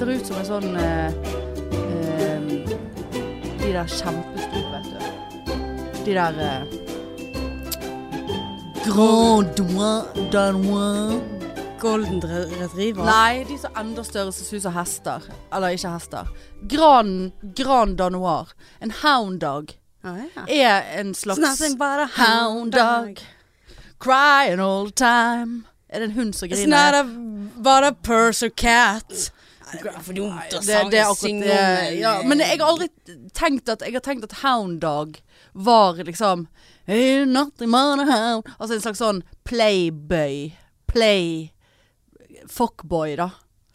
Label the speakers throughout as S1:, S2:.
S1: sånn eh, eh, De der kjempestore, vet du. De der eh,
S2: Grand Danois- Danois. Golden re- retriever.
S1: Nei, de som er enda større som ser ut som hester. Eller ikke hester. Gran, gran danoir. En hound dog
S2: Ah, ja.
S1: er Sånn en slags
S2: Snapping by the
S1: hound
S2: hound dog.
S1: dog. Crying all the time. Sånn Er det en hund som
S2: It's
S1: griner?
S2: not a, but a purse or cat. Det er for dumt å
S1: det, det er akkurat
S2: synge
S1: det.
S2: om,
S1: Ja,
S2: eh,
S1: men jeg har aldri tenkt at Jeg har tenkt at Hound Dog var liksom "Hey, Not in my hound Altså en slags sånn playboy. Play Fuckboy, da.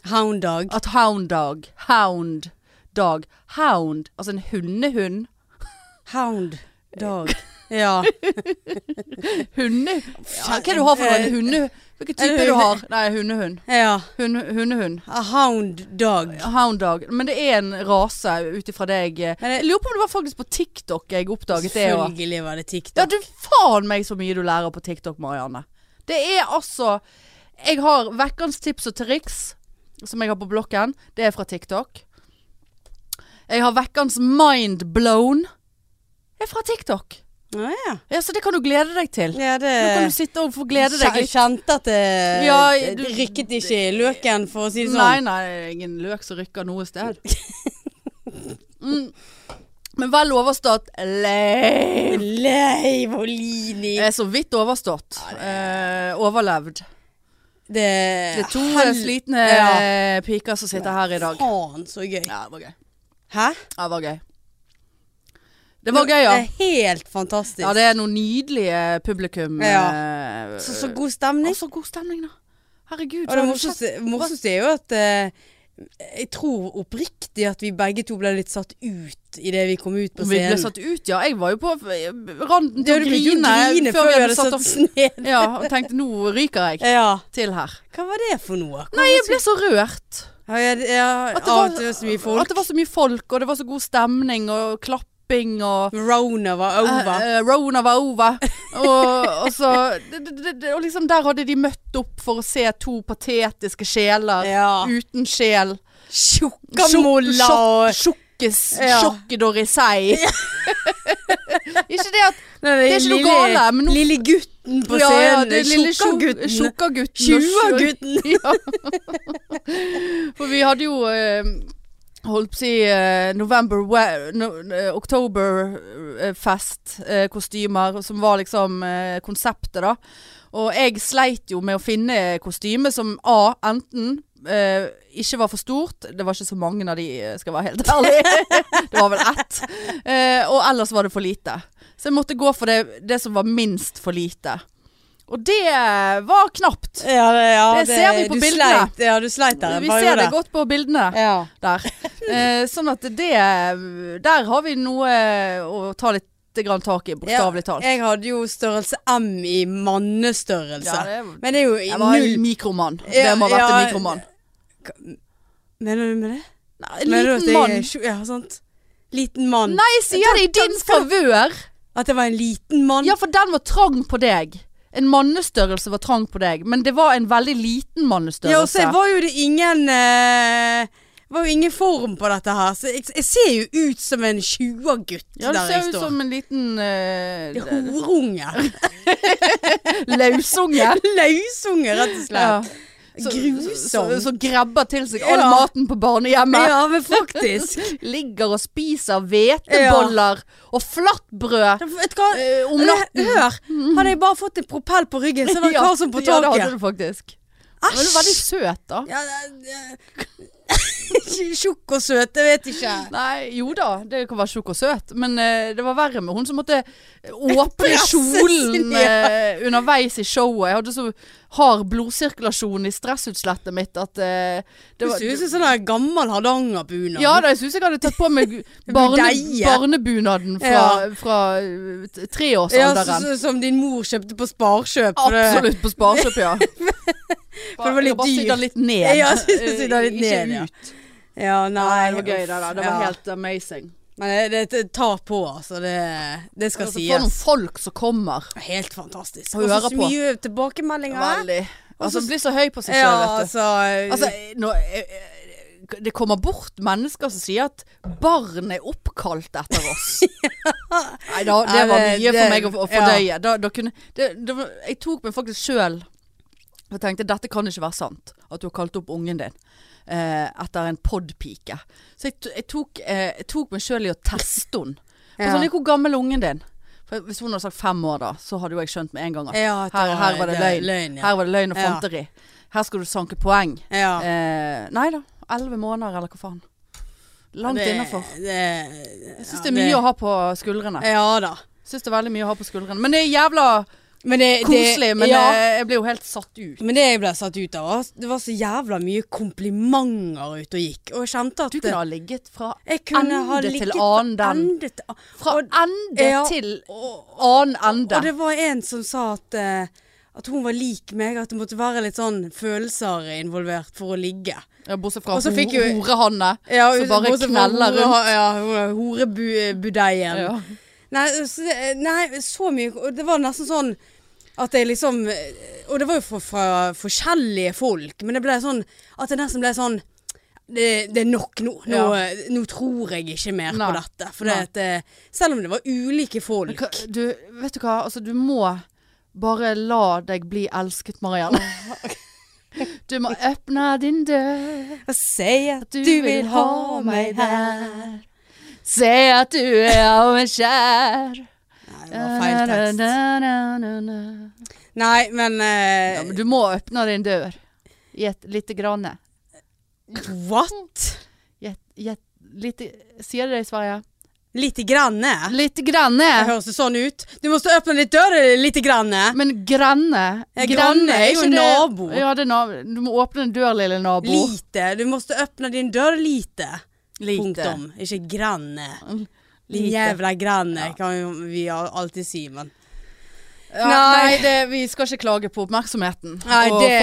S2: Hound dog.
S1: At Hound Dog Hound Dog Hound Altså en hundehund.
S2: Hound dog. Ja.
S1: Hunde... Ja, hva er det du har for en hunde... Hvilken
S2: Er det
S1: type du
S2: hunde-
S1: har? Nei, hundehund.
S2: ja.
S1: Hunde, hundehund.
S2: A hound dog.
S1: Hound dog. Men det er en rase ut ifra eh. det jeg
S2: Men det-
S1: Jeg lurer på om det var faktisk på TikTok jeg oppdaget det. og-
S2: Selvfølgelig var det TikTok.
S1: Ja, du faen meg så mye du lærer på TikTok, Marianne. Det er altså Jeg har vekkens tips og triks, som jeg har på blokken. Det er fra TikTok. Jeg har vekkens mind blown. Det er fra TikTok.
S2: Ah, ja.
S1: Ja, Så det kan du glede deg til.
S2: ja, det
S1: Nå kan du sitte og få glede deg
S2: Jeg
S1: litt.
S2: kjente at det,
S1: Ja,
S2: det-
S1: du-
S2: det rykket ikke i løken, for å si det sånn.
S1: Nei, nei, det er ingen løk som rykker noe sted. Mm. Men vel overstått. Leiv.
S2: Leiv og Lini.
S1: Er så vidt overstått. Eh, overlevd.
S2: Det
S1: Det er to
S2: hel-
S1: slitne
S2: ja.
S1: eh, piker som sitter her i dag.
S2: Faen, så gøy.
S1: Ja, det var gøy.
S2: Hæ?
S1: Ja, det var gøy. Det var gøy, ja.
S2: Det er helt fantastisk.
S1: Ja, det er noe nydelige publikum. eh,
S2: så, så god stemning.
S1: Å, så god stemning, da. Herregud.
S2: Og
S1: så
S2: det
S1: har du
S2: morsomste, morsomste er jo at eh, jeg tror oppriktig at vi begge to ble litt satt ut idet vi kom ut på
S1: sett- Vi ble
S2: scenen.
S1: satt ut, ja. Jeg var jo på eh, randen
S2: Du
S1: til å
S2: hadde begynt
S1: grine,
S2: å grine
S1: før vi hadde satt
S2: oss
S1: oss
S2: ned.
S1: Ja, og tenkte nå ryker jeg
S2: Ja.
S1: til her.
S2: Hva var det for noe?
S1: Nei, jeg ble så rørt.
S2: Ja, ja, ja,
S1: At det
S2: av
S1: var-
S2: at det var så mye
S1: At
S2: folk.
S1: det var så mye folk, og det var så god stemning og klapping og
S2: Rona var over.
S1: Eh, eh, Rona var over. Og, og så det, det, det- det, Og liksom der hadde de møtt opp for å se to patetiske sjeler
S2: Ja.
S1: uten sjel.
S2: Tjukka
S1: Sjok-
S2: molla
S1: sjok-
S2: og
S1: Sjokkes
S2: Ja.
S1: sjokkedorisei. ikke det at
S2: Det
S1: er ikke noe gale, men nå-
S2: Lille gutten på
S1: Ja, ja,
S2: scenen.
S1: det er lille
S2: Tjukka
S1: tjo-
S2: gutten.
S1: tjukka gutten og
S2: Tjua
S1: sjø-
S2: gutten.
S1: Ja. For vi hadde jo eh, Holdt på å si eh, November we- no, eh, Oktoberfest eh, Kostymer Som var liksom eh, konseptet da Og jeg sleit jo med å finne kostyme Som A, enten eh, Ikke var for stort Det var ikke så mange av de, eh, skal jeg være helt ærlig Det var vel ett eh, Og ellers var det for lite Så jeg måtte gå for det, det som var minst for lite Og det eh, var knapt
S2: Ja, det, ja,
S1: Det ser vi på
S2: du
S1: bildene.
S2: Sleit, ja, du sleit der. en
S1: vi
S2: periode.
S1: ser det godt på bildene
S2: Ja.
S1: der. Eh, sånn at det Der har vi noe eh, å ta litt grann tak i, bokstavelig talt.
S2: Jeg hadde jo størrelse M i mannestørrelse.
S1: Ja, det-
S2: Men det er jo i
S1: Jeg var en
S2: null
S1: mikromann. Det
S2: Ja,
S1: må ha vært en
S2: ja.
S1: mikromann.
S2: Mener du med det?
S1: Nei, En
S2: Mener du at
S1: liten
S2: jeg er
S1: mann.
S2: tjo- Ja, sant. Liten mann.
S1: Nei, jeg sier det i din favør.
S2: At jeg var en liten mann?
S1: Ja, for den var trang på deg. En mannestørrelse var trang på deg, men det var en veldig liten
S2: Ja, og så
S1: mannestørrelse.
S2: var jo det ingen eh, var jo ingen form på dette her. Så jeg, jeg ser jo ut som en 20-gutt
S1: Ja, du
S2: der jeg
S1: ser ut
S2: står.
S1: som en liten
S2: Det er
S1: uh,
S2: Horunge.
S1: lausunge.
S2: Lausunge, rett og
S1: Ja.
S2: slett.
S1: Så-
S2: Grusom.
S1: så- Som grabber til seg all
S2: Ja.
S1: maten på barnehjemmet.
S2: ja, men faktisk.
S1: Ligger og spiser hveteboller og flatbrød
S2: Da- Vet du hva?
S1: eh, om
S2: Eller,
S1: natten. Mm.
S2: Hør! Hadde jeg bare fått en propell på ryggen, så hadde jeg vært kar som på
S1: Ja, det hadde
S2: taket.
S1: du faktisk. Men du er veldig
S2: Æsj!
S1: søt, da.
S2: Ja, det- det- Tjukk og søt, jeg vet ikke.
S1: Nei, jo da, det kan være tjukk og søt, men eh, det var verre med hun som måtte åpne
S2: Presses,
S1: kjolen
S2: ja.
S1: eh, underveis i showet. Jeg hadde så hard blodsirkulasjon i stressutslettet mitt at eh, det
S2: Du
S1: var
S2: ser ut som sånn der gammel hardangerbunad.
S1: Ja da, jeg syns jeg hadde tatt på meg barne,
S2: Budeie.
S1: barnebunaden fra,
S2: Ja.
S1: fra eh, t-
S2: Ja, så-
S1: treårsalderen.
S2: så- som din mor kjøpte på Sparkjøp. for det-
S1: Absolutt på sparkjøp, ja.
S2: For det var litt
S1: Jeg bare
S2: dyrt.
S1: sitter litt ned.
S2: Ja, jeg synes du sitter litt
S1: Ikke
S2: ned, ja.
S1: ut.
S2: Ja,
S1: Nei,
S2: nei,
S1: det var gøy, det
S2: uff,
S1: der. Det var
S2: ja.
S1: helt amazing.
S2: Men det, det tar på, altså. Det, det skal
S1: Altså, for noen
S2: sies.
S1: folk som kommer.
S2: Helt fantastisk.
S1: Å høre
S2: Og så
S1: på.
S2: mye tilbakemeldinger.
S1: Veldig.
S2: Og
S1: Altså,
S2: så-
S1: blir så høy på seg sjøl,
S2: Ja,
S1: vet du.
S2: altså,
S1: Altså, nå, eh, eh, det kommer bort mennesker som sier at barn er oppkalt etter oss. Nei, da, det
S2: Nei,
S1: var
S2: det-
S1: mye
S2: det-
S1: for meg å, å fordøye. Da, da kunne, det, det, var- jeg tok meg faktisk sjøl og tenkte dette kan ikke være sant. At du har kalt opp ungen din eh, etter en podpike. Så jeg, t- jeg, tok, eh, jeg tok meg sjøl i å teste henne.
S2: Ja.
S1: Sånn, hvor gammel er ungen din? For hvis hun hadde sagt fem år, da, så hadde jo jeg skjønt med en gang at
S2: Ja,
S1: her, her var det løgn.
S2: løgn ja.
S1: Her var det løgn og
S2: Ja.
S1: fanteri. Her skal du sanke poeng.
S2: ja.
S1: Eh, nei da. Elleve måneder, eller hva faen. Langt
S2: Det-
S1: innafor.
S2: det-
S1: Jeg syns
S2: ja,
S1: det er mye å ha på skuldrene.
S2: Ja da.
S1: Syns det er veldig mye å ha på skuldrene. Men det er jævla
S2: Men det, det-
S1: koselig. Men
S2: ja.
S1: eh, jeg blir jo helt satt ut.
S2: Men det jeg ble satt ut av, var- det var så jævla mye komplimenter ute og gikk. Og jeg kjente at
S1: Du kunne ha ligget fra
S2: jeg kunne ha
S1: ende til
S2: ligget
S1: annen den.
S2: ende til an-
S1: Fra
S2: og,
S1: ende
S2: ja.
S1: til
S2: og,
S1: annen
S2: og
S1: ende.
S2: det var en som sa at, eh, at hun var lik meg, at det måtte være litt sånn følelser involvert for å ligge.
S1: Ja, bortsett fra
S2: Og så fikk
S1: ho-
S2: jo-
S1: horehanne.
S2: Ja,
S1: Så bare
S2: bortsett fra
S1: kneller
S2: hore- Ja, hun- horebudeien.
S1: Ja.
S2: Nei, så, nei, så mye og Det var nesten sånn at jeg liksom Og det var jo fra, fra forskjellige folk, men det ble sånn at det nesten ble sånn det, det er nok nå. Nå, eh, nå tror jeg ikke mer
S1: Nei.
S2: på dette. For det
S1: Nei.
S2: at, eh, selv om det var ulike folk
S1: Hva- Du, vet du hva, altså du må bare la deg bli elsket, Marianne. Du må åpne din dør.
S2: Og si at
S1: Du vil ha meg her. Se at du er meg kjær.
S2: Nei, det var feil tekst. Nei, men, eh,
S1: Ja, men du må åpne din dør. Gjett lite grann.
S2: What?
S1: Gjett, gjett lite Sier det i Sverige?
S2: Lite granne?
S1: Lite
S2: Det
S1: granne.
S2: høres det sånn ut? Du må stå åpne litt døren lite granne.
S1: Men granne
S2: Ja, granne er jo
S1: ikke det-
S2: nabo.
S1: Ja, det er nabo. Du må åpne en dør, lille nabo.
S2: Lite. Du måste öppna din dörr lite.
S1: Lite.
S2: Punktum. Ikke granne. Din
S1: Lite.
S2: jävla granne kan jo vi al- alltid si, men
S1: Ja,
S2: Nei.
S1: nei, det, vi skal ikke klage på oppmerksomheten.
S2: Nei,
S1: og
S2: det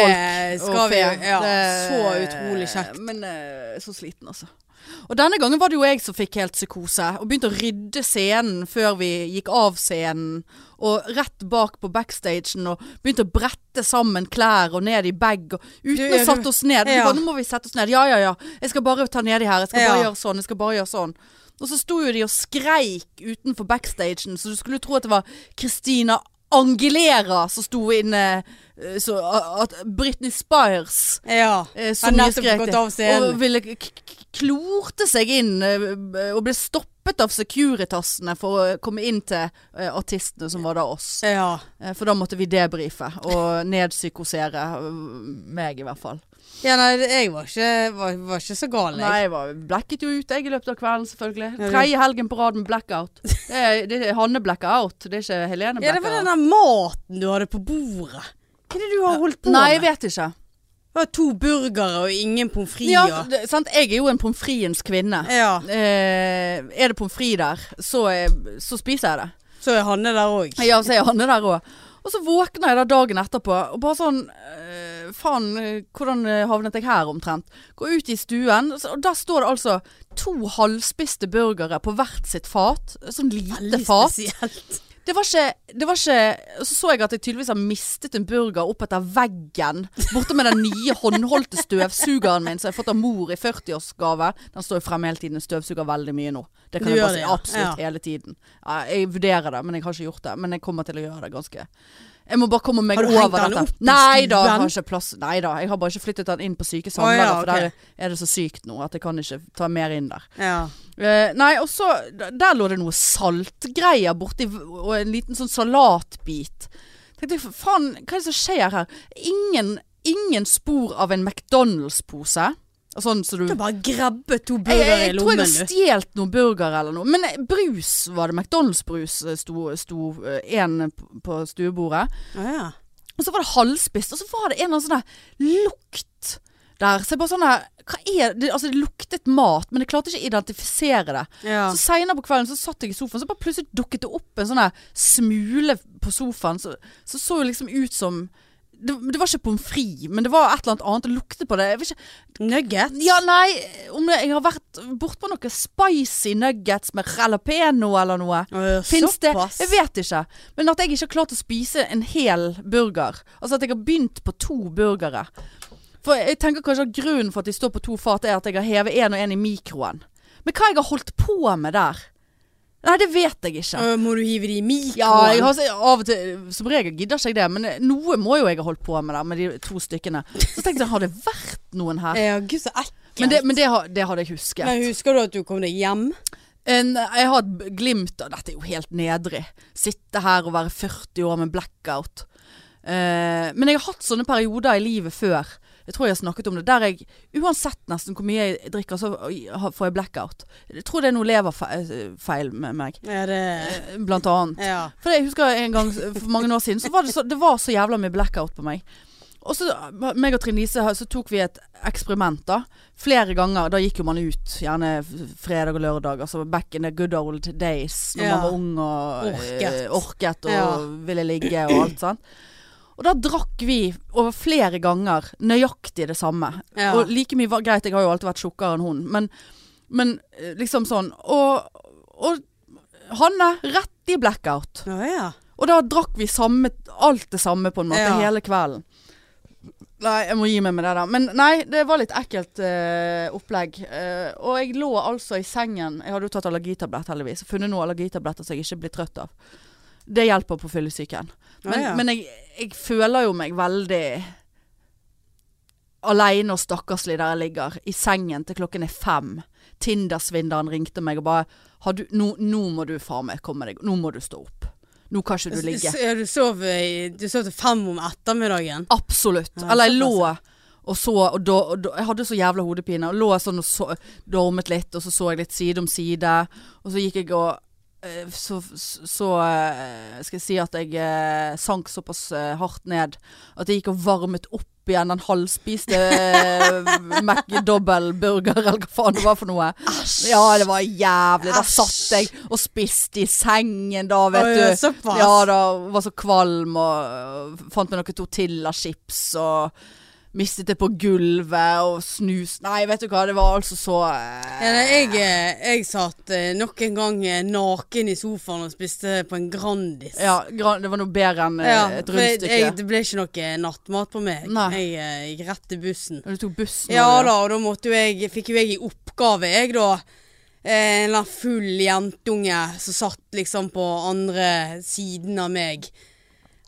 S1: folk
S2: skal
S1: og
S2: vi.
S1: fe.
S2: Ja,
S1: Det-
S2: så utrolig kjekt.
S1: Men eh, så sliten, altså. Og denne gangen var det jo jeg som fikk helt psykose. Og begynte å rydde scenen før vi gikk av scenen. Og rett bak på backstagen og begynte å brette sammen klær og ned i bag. Og, uten
S2: Du, ja,
S1: å sette
S2: du-
S1: oss ned. Du
S2: ja.
S1: bare, nå må vi sette oss ned. Ja, ja, ja. Jeg skal bare ta nedi her. Jeg skal bare
S2: Ja.
S1: gjøre sånn. Jeg skal bare gjøre sånn. Og så sto jo de og skreik utenfor backstagen, så du skulle tro at det var Christina Angelera som sto inne. eh, Så a- at Britney Spires
S2: Ja.
S1: eh, så
S2: Har
S1: mye
S2: nettopp
S1: skrek
S2: gått
S1: det.
S2: av scenen.
S1: Og ville k- k- klorte seg inn eh, b- og ble stoppet av Securitasene for å komme inn til eh, artistene, som var da oss.
S2: Ja.
S1: Eh, For da måtte vi debrife og nedpsykosere eh, meg, i hvert fall.
S2: ja nei, jeg var ikke, var, var ikke så gal, jeg.
S1: Nei, jeg var blekket jo ut jeg i løpet av kvelden, selvfølgelig.
S2: Ja, du-
S1: Tredje helgen på rad med blackout. Det er, det er Hanne blackout, det er ikke Helene
S2: Ja, det
S1: blackout.
S2: var den der maten du hadde på bordet. Hva er det du har holdt på
S1: Nei, jeg
S2: med?
S1: vet ikke.
S2: Det var to burgere og ingen pommes frites.
S1: Ja,
S2: og-
S1: det, sant? Jeg er jo en pommes fritens kvinne.
S2: ja.
S1: Eh, er det pommes frites der, så, eh, så spiser jeg det.
S2: Så er Hanne der òg.
S1: Ja, så er Hanne der òg. Og så våkner jeg da dagen etterpå og bare sånn eh, Faen, eh, hvordan eh, havnet jeg her omtrent? Går ut i stuen, og så- og der står det altså to halvspiste burgere på hvert sitt fat. Sånn lite fat.
S2: spesielt.
S1: Det var ikke, det var ikke Så så jeg at jeg tydeligvis har mistet en burger opp etter veggen. Borte med den nye håndholdte støvsugeren min som jeg har fått av mor i 40-årsgave. Den står jo fremme hele tiden. Den støvsuger veldig mye nå. Det kan
S2: Du
S1: jeg
S2: gjør
S1: bare
S2: det,
S1: si
S2: ja.
S1: absolutt hele tiden. Ja, jeg vurderer det, men jeg har ikke gjort det. Men jeg kommer til å gjøre det ganske Jeg må bare komme meg
S2: Har du
S1: over dette.
S2: hengt den opp i
S1: Nei da, jeg har
S2: stuen?
S1: ikke plass. Nei da, jeg har bare ikke flyttet den inn på syke
S2: Å,
S1: samlere,
S2: ja, ok.
S1: for der er det så sykt nå at jeg kan ikke ta mer inn der.
S2: Ja.
S1: Eh, nei, og så d- Der lå det noe saltgreier borti v- og en liten sånn salatbit. Tenkte jeg, "Fa- faen, hva er det som skjer her? Ingen, ingen spor av en McDonald's-pose. Og Sånn så du
S2: Du har bare grabbet to
S1: jeg,
S2: burgere
S1: jeg,
S2: i
S1: jeg tror jeg
S2: lommen,
S1: har
S2: du.
S1: stjålet noen burgere eller noe. Men eh, brus var det. McDonald's-brus eh, sto- sto én på stuebordet.
S2: Å, ja.
S1: Og så var det halvspist, og så var det en eller annen sånn der lukt der. Så jeg bare sånn der Hva er det? Altså, det luktet mat, men jeg klarte ikke å identifisere det.
S2: Ja.
S1: Så seinere på kvelden så satt jeg i sofaen, så bare plutselig dukket det opp en sånn her smule på sofaen. Så så, så jo liksom ut som det, det var ikke pommes frites, men det var et eller annet annet. Det luktet på det. Jeg vet ikke,
S2: Nuggets?
S1: ja, nei, om det, jeg har vært bortpå noe spicy nuggets med jalapeno eller noe.
S2: Å,
S1: Fins det?
S2: såpass.
S1: Jeg vet ikke. Men at jeg ikke har klart å spise en hel burger. Altså at jeg har begynt på to burgere. For jeg tenker kanskje at grunnen for at de står på to fat, er at jeg har hevet én og én i mikroen. Men hva jeg har holdt på med der? Nei, det vet jeg ikke.
S2: Øh, må du hive de i mikroen?
S1: Ja, jeg har, av og til, som regel gidder ikke jeg det, men noe må jo jeg ha holdt på med der, med de to stykkene. Så tenkte jeg, har det vært noen her?
S2: Ja, gud, så ekkelt.
S1: Men det, men det, har- det hadde jeg husket.
S2: Men husker du at du kom deg hjem?
S1: En, jeg har et glimt av Dette er jo helt nedrig. Sitte her og være 40 år med blackout. Eh, men jeg har hatt sånne perioder i livet før. Jeg tror jeg har snakket om det. Der jeg uansett nesten hvor mye jeg drikker, så har- får jeg blackout. Jeg tror det er noe leverfeil med meg.
S2: Ja, det
S1: eh, Blant annet.
S2: Ja.
S1: For jeg husker en gang for mange år siden, så var det så, det var så jævla mye blackout på meg. Og så, meg og Trine Lise, så tok vi et eksperiment da. Flere ganger. Da gikk jo man ut, gjerne f- fredag og lørdag. Altså back in the good old days. Når
S2: Ja.
S1: man var ung og
S2: Orket.
S1: eh, orket og
S2: Ja.
S1: ville ligge og alt sånt. Og da drakk vi over flere ganger nøyaktig det samme.
S2: Ja.
S1: Og like mye var greit, jeg har jo alltid vært tjukkere enn hun. Men, men eh, liksom sånn. Og, og Hanne, rett i blackout.
S2: Å ja.
S1: Og da drakk vi samme, alt det samme på en måte
S2: Ja.
S1: hele kvelden. Nei, jeg må gi meg med det da. Men nei, det var litt ekkelt eh, opplegg. Eh, og jeg lå altså i sengen. Jeg hadde jo tatt allergitablett heldigvis. Funnet noen allergitabletter som jeg ikke blir trøtt av. Det hjelper på fyllesyken. Men,
S2: Ja, ja.
S1: men jeg, jeg føler jo meg veldig aleine og stakkarslig der jeg ligger. I sengen til klokken er fem. Tindersvindleren ringte meg og bare har du, nå, 'Nå må du faen meg komme deg Nå må du stå opp. Nå kan ikke du ligge'.
S2: S- ja, du sov, i- du sov til fem om ettermiddagen.
S1: Absolutt.
S2: Ja,
S1: Eller jeg
S2: såpass,
S1: lå og så og da, og da, Jeg hadde så jævla hodepine. Og lå sånn og så, dormet litt, og så så jeg litt side om side. Og så gikk jeg og eh, så, så eh, skal jeg si at jeg eh, sank såpass eh, hardt ned at jeg gikk og varmet opp igjen den halvspiste eh, McDouble-burger, eller hva faen det var for noe. Ja, det var jævlig. Da
S2: Æsj.
S1: satt jeg og spiste i sengen da, vet
S2: Å,
S1: du.
S2: ja, Såpass.
S1: Ja da, var så kvalm og øh, fant meg noen tortillachips og mistet det på gulvet og snus Nei, vet du hva, det var altså så
S2: Ja,
S1: eh,
S2: nei, jeg, eh, jeg satt eh, nok en gang eh, naken i sofaen og spiste på en Grandis.
S1: ja, gran- det var noe bedre enn eh,
S2: Ja,
S1: et
S2: for jeg,
S1: rundstykke.
S2: jeg, det ble ikke noe nattmat på meg.
S1: Nei.
S2: Jeg eh, gikk rett til bussen.
S1: Når du tok bussen
S2: Ja
S1: og det-
S2: da, og da måtte jo jeg, fikk jo jeg i oppgave, jeg da. eh, En eller annen full jentunge som satt liksom på andre siden av meg.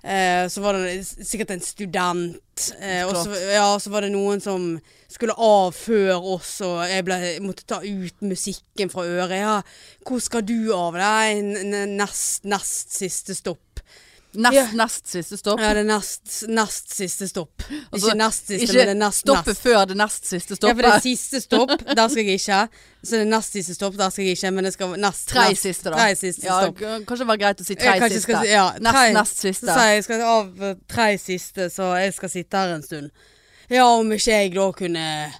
S2: Eh, så var det s- sikkert en student. Eh, og så, ja, så var det noen som skulle av før oss, og jeg ble, måtte ta ut musikken fra øret. Ja, 'Hvor skal du av?' Nei, n- n- nest, nest siste stopp.
S1: Nest,
S2: Ja.
S1: nest siste stopp.
S2: Ja, det er nest, nest siste stopp.
S1: Altså,
S2: Ikke nest siste,
S1: ikke
S2: men det er nest
S1: stoppet
S2: nest.
S1: før det nest siste
S2: Ja, for det er
S1: stoppet.
S2: siste stopp, der skal jeg ikke. Så det er nest siste stopp, der skal jeg ikke. Men det skal nest
S1: Tre
S2: nest-
S1: siste, da.
S2: Tre siste
S1: Ja,
S2: stopp.
S1: k- kanskje det var greit å si
S2: Jeg
S1: tre
S2: kanskje
S1: siste.
S2: skal si- ja,
S1: nest,
S2: tre-
S1: nest
S2: Så
S1: siste.
S2: sier jeg jeg skal av eh, tre siste, så jeg skal sitte her en stund. Ja, om ikke jeg da kunne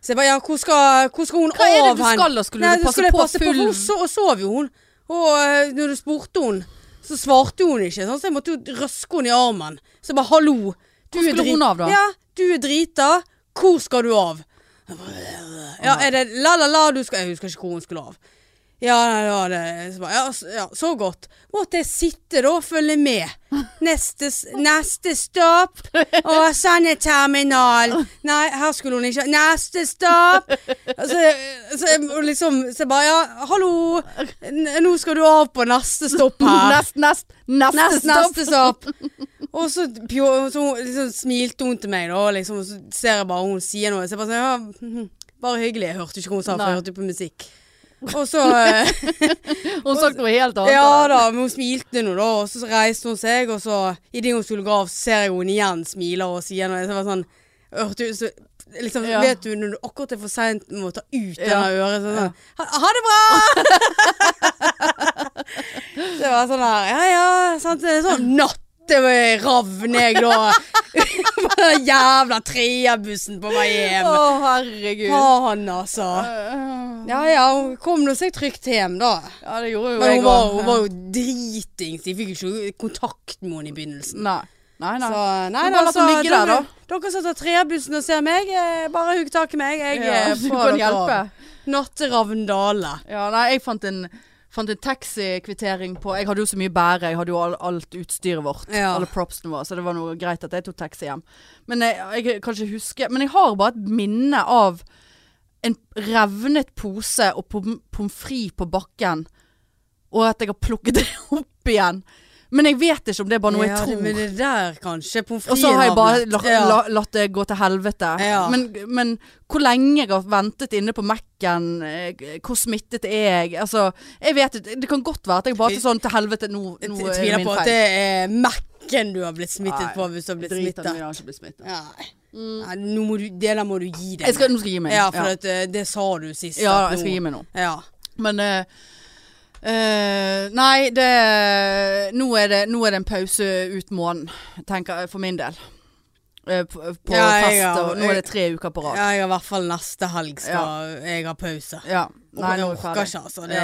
S2: Så jeg bare, ja, hvor skal, hvor skal hun
S1: Hva er det
S2: av
S1: du
S2: hen?
S1: skal da? Skulle
S2: Nei,
S1: du
S2: så
S1: passe
S2: skulle jeg
S1: på
S2: passe på, for
S1: full-
S2: hun so- sov jo hun. Og eh, når du spurte hun, så svarte hun ikke. sant? Så jeg måtte jo røske hun i armen. Så jeg bare, hallo. Du
S1: Hvor
S2: er
S1: skulle
S2: drit-
S1: hun av da?
S2: Ja, du er drita. Hvor skal du av? Ja, er det la la la du skal Jeg husker ikke hvor hun skulle av. Ja, nei, ja, det, så, bare, ja, s- ja, så godt. Måtte jeg sitte da og følge med. Neste, s- neste stopp. Å, sånn er terminal. Nei, her skulle hun ikke Neste stopp. Så, jeg- så jeg må liksom Så jeg bare Ja, hallo. N nå skal du av på neste stopp her.
S1: Nest, nest, neste,
S2: Neste,
S1: stopp.
S2: neste stopp. Og så, pjo, så hun liksom smilte hun til meg, da, og liksom, og så ser jeg bare hun sier noe. Så jeg bare sånn, ja, mhm, bare hyggelig. Jeg hørte ikke hva hun sa, for
S1: Nei.
S2: jeg hørte på musikk. Og så eh,
S1: Hun sa noe helt annet.
S2: Ja da, men hun smilte nå, da. Og så reiste hun seg, og så idet hun skulle gå av, så ser jeg hun igjen smiler og sier noe. Så jeg bare sånn Hørte du så, Liksom,
S1: Ja.
S2: Vet du når du akkurat er for seint med å ta ut det
S1: Ja.
S2: øret, så er det sånn ha, ha det bra! så det var sånn her Ja ja, sant. Det er sånn natteravn jeg da. På den jævla Trea-bussen på vei hjem.
S1: Å, herregud.
S2: Faen, altså. Ja ja, hun kom nå seg trygt hjem, da.
S1: Ja, det gjorde jo
S2: Men
S1: jeg
S2: hun var,
S1: også.
S2: hun var jo dritings. De fikk jo ikke kontakt med henne i begynnelsen.
S1: Nei. Nei, nei.
S2: Så, nei,
S1: Men
S2: nei,
S1: bare la
S2: så
S1: den ligge der, da.
S2: Dere som tar trebussen og ser meg, eh, bare hugg tak i meg. Jeg
S1: ja,
S2: eh,
S1: du kan
S2: får dere av.
S1: hjelpe.
S2: Natteravn Dale.
S1: Ja, nei, jeg fant en Fant en taxikvittering på Jeg hadde jo så mye bære, jeg hadde jo all, alt utstyret vårt.
S2: Ja.
S1: Alle propsene våre, så det var noe greit at jeg tok taxi hjem. Men jeg, jeg kan ikke huske Men jeg har bare et minne av en revnet pose og pom pommes frites på bakken, og at jeg har plukket det opp igjen. Men jeg vet ikke om det er bare noe jeg
S2: Ja, det-
S1: tror.
S2: Men det der, kanskje. Pommes
S1: Og
S2: frites
S1: så har jeg bare
S2: havnet.
S1: la,
S2: Ja.
S1: la, latt det gå til helvete.
S2: Ja.
S1: Men, men hvor lenge jeg har ventet inne på Mac-en, eh, hvor smittet er jeg? Altså, jeg vet ikke. Det kan godt være at jeg bare er sånn til helvete, nå,
S2: Jeg
S1: nå er det
S2: tviler
S1: min
S2: på at
S1: feil.
S2: det er Mac-en du har blitt smittet
S1: Nei,
S2: på hvis du har blitt
S1: Drit i
S2: smittet.
S1: det, jeg har ikke blitt smittet.
S2: Nei. Nei, nå må du, det der må du gi deg.
S1: Jeg skal, nå skal jeg gi meg.
S2: ja, for
S1: ja.
S2: At, eh, det sa du sist.
S1: ja,
S2: at
S1: jeg skal
S2: nå-
S1: gi meg nå.
S2: Ja.
S1: Men eh, eh, Nei, det nå er det, nå er det en pause ut måneden, tenker jeg, for min del. Eh, på på
S2: Ja, jeg
S1: fest,
S2: har-
S1: og nå er det tre uker på rad.
S2: ja, jeg har i hvert fall neste helg skal jeg ha pause.
S1: Ja.
S2: Og
S1: Nei,
S2: jeg
S1: nå er vi
S2: orker
S1: ferdig.
S2: ikke, altså. Det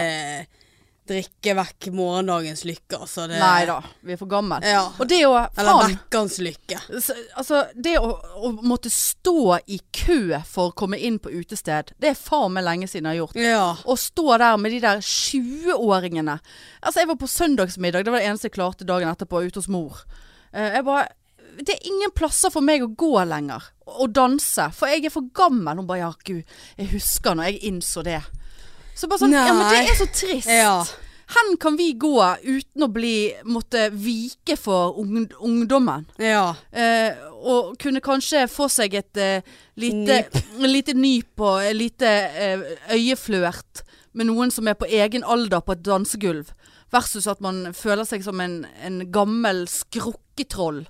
S2: Drikke vekk morgendagens lykke, altså. Det,
S1: Nei da, vi er for gammel.
S2: Ja.
S1: Og det å
S2: Eh. Eller
S1: Faen!
S2: vekkens lykke.
S1: Så, altså, det å, å måtte stå i kø for å komme inn på utested, det er faen meg lenge siden jeg har gjort.
S2: Ja.
S1: Å stå der med de der 20-åringene. Altså, jeg var på søndagsmiddag, det var det eneste jeg klarte dagen etterpå, ute hos mor. Eh, jeg bare Det er ingen plasser for meg å gå lenger. Og danse. For jeg er for gammel. Hun bare ja, gud, jeg husker når jeg innså det. Så bare sånn Ja, men
S2: Nei.
S1: det er så trist.
S2: Ja.
S1: Hen kan vi gå uten å bli Måtte vike for ung, ungdommen?
S2: ja.
S1: Eh, og kunne kanskje få seg et eh, lite, lite nyp og et lite eh, øyeflørt med noen som er på egen alder på et dansegulv, versus at man føler seg som en, en gammel skrukketroll.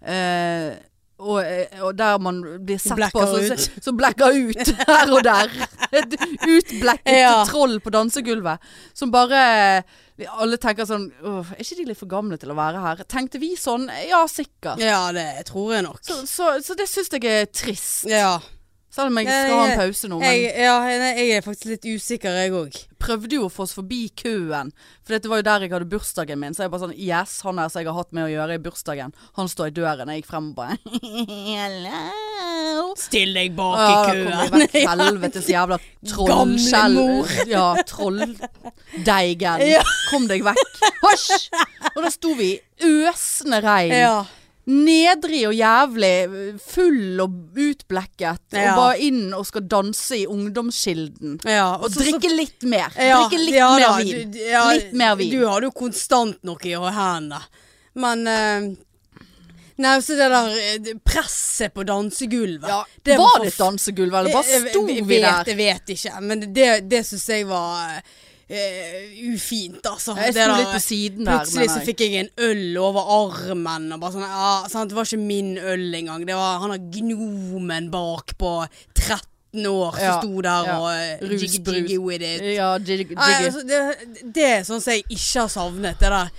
S1: Eh, og, eh, og der man blir sett
S2: Blacker
S1: på som-
S2: ut.
S1: som blacker ut her og der. Et utblekket
S2: Ja.
S1: troll på dansegulvet som bare eh, alle tenker sånn «Åh, Er ikke de litt for gamle til å være her? Tenkte vi sånn? Ja, sikkert.
S2: Ja, det tror jeg nok.
S1: Så, så, så det syns jeg er trist.
S2: Ja.
S1: Selv om jeg
S2: Ja,
S1: skal ha en
S2: jeg-
S1: pause nå. Men
S2: Jeg, ja, nei, jeg er faktisk litt usikker, jeg òg.
S1: prøvde jo å få oss forbi køen. For dette var jo der jeg hadde bursdagen min. Så jeg bare sånn Yes, han her som jeg har hatt med å gjøre i bursdagen, han står i døren. Jeg gikk frem og bare Hello.
S2: Still deg bak
S1: Ja, da
S2: i
S1: kom jeg
S2: køen.
S1: vekk. Helvetes jævla trollskjell.
S2: Gamlemor.
S1: Ja, trolldeigen.
S2: Ja.
S1: Kom deg vekk. Hysj! Og da sto vi i øsende regn.
S2: Ja.
S1: Nedrig og jævlig, full og utblekket,
S2: Ja.
S1: og bare inn og skal danse i ungdomskilden.
S2: ja.
S1: Og drikke litt mer.
S2: Ja,
S1: drikke litt
S2: ja
S1: mer
S2: da,
S1: vin.
S2: du- ja,
S1: Litt mer vin.
S2: Du hadde jo konstant noe i hendene. Men eh, Nei, så det der eh, det presset på dansegulvet
S1: Ja,
S2: det
S1: var
S2: for-
S1: det et dansegulv, eller bare sto
S2: Jeg- jeg
S1: vi
S2: vet-
S1: der?
S2: Jeg vet ikke, men det, det syns jeg var eh, ufint, altså.
S1: Jeg
S2: Det
S1: sto
S2: der-
S1: litt på siden der,
S2: Plutselig så
S1: mener jeg.
S2: fikk jeg en øl over armen. Og bare sånn, ja, sant? Det var ikke min øl engang. Det var han der gnomen bak på 13 år som
S1: Ja,
S2: sto der
S1: ja.
S2: og eh,
S1: Rusbrus.
S2: jiggy jiggy with it.
S1: Ja, jig- jiggy.
S2: Nei, altså, det, det er sånn som jeg ikke har savnet. Det der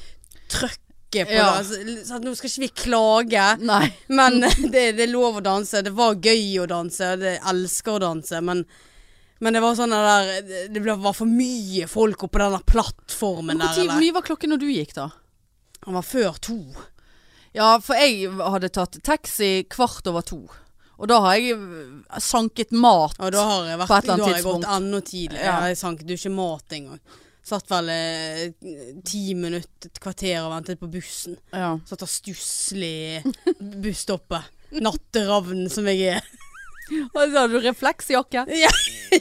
S2: trøkket på
S1: Ja.
S2: det. Altså, l- sant, nå skal ikke vi klage,
S1: Nei.
S2: men
S1: Mm.
S2: det, det er lov å danse. Det var gøy å danse, og det jeg elsker å danse, men men det var sånn det der Det det ble- var for mye folk oppå den der plattformen
S1: Men
S2: der.
S1: hvor tid-
S2: eller?
S1: hvor mye var klokken når du gikk, da?
S2: Han var før to.
S1: Ja, for jeg hadde tatt taxi kvart over to. Og da har jeg øh, sanket mat.
S2: Og da har jeg, vært,
S1: På et eller annet
S2: da har jeg gått
S1: tidspunkt.
S2: enda tidligere.
S1: Ja.
S2: Jeg sanket jo ikke mat engang. Satt vel eh, ti minutter, et kvarter og ventet på bussen.
S1: Ja.
S2: Satt og stusslig i busstoppet. Natteravn som jeg er.
S1: Og så hadde du refleksjakke
S2: ja,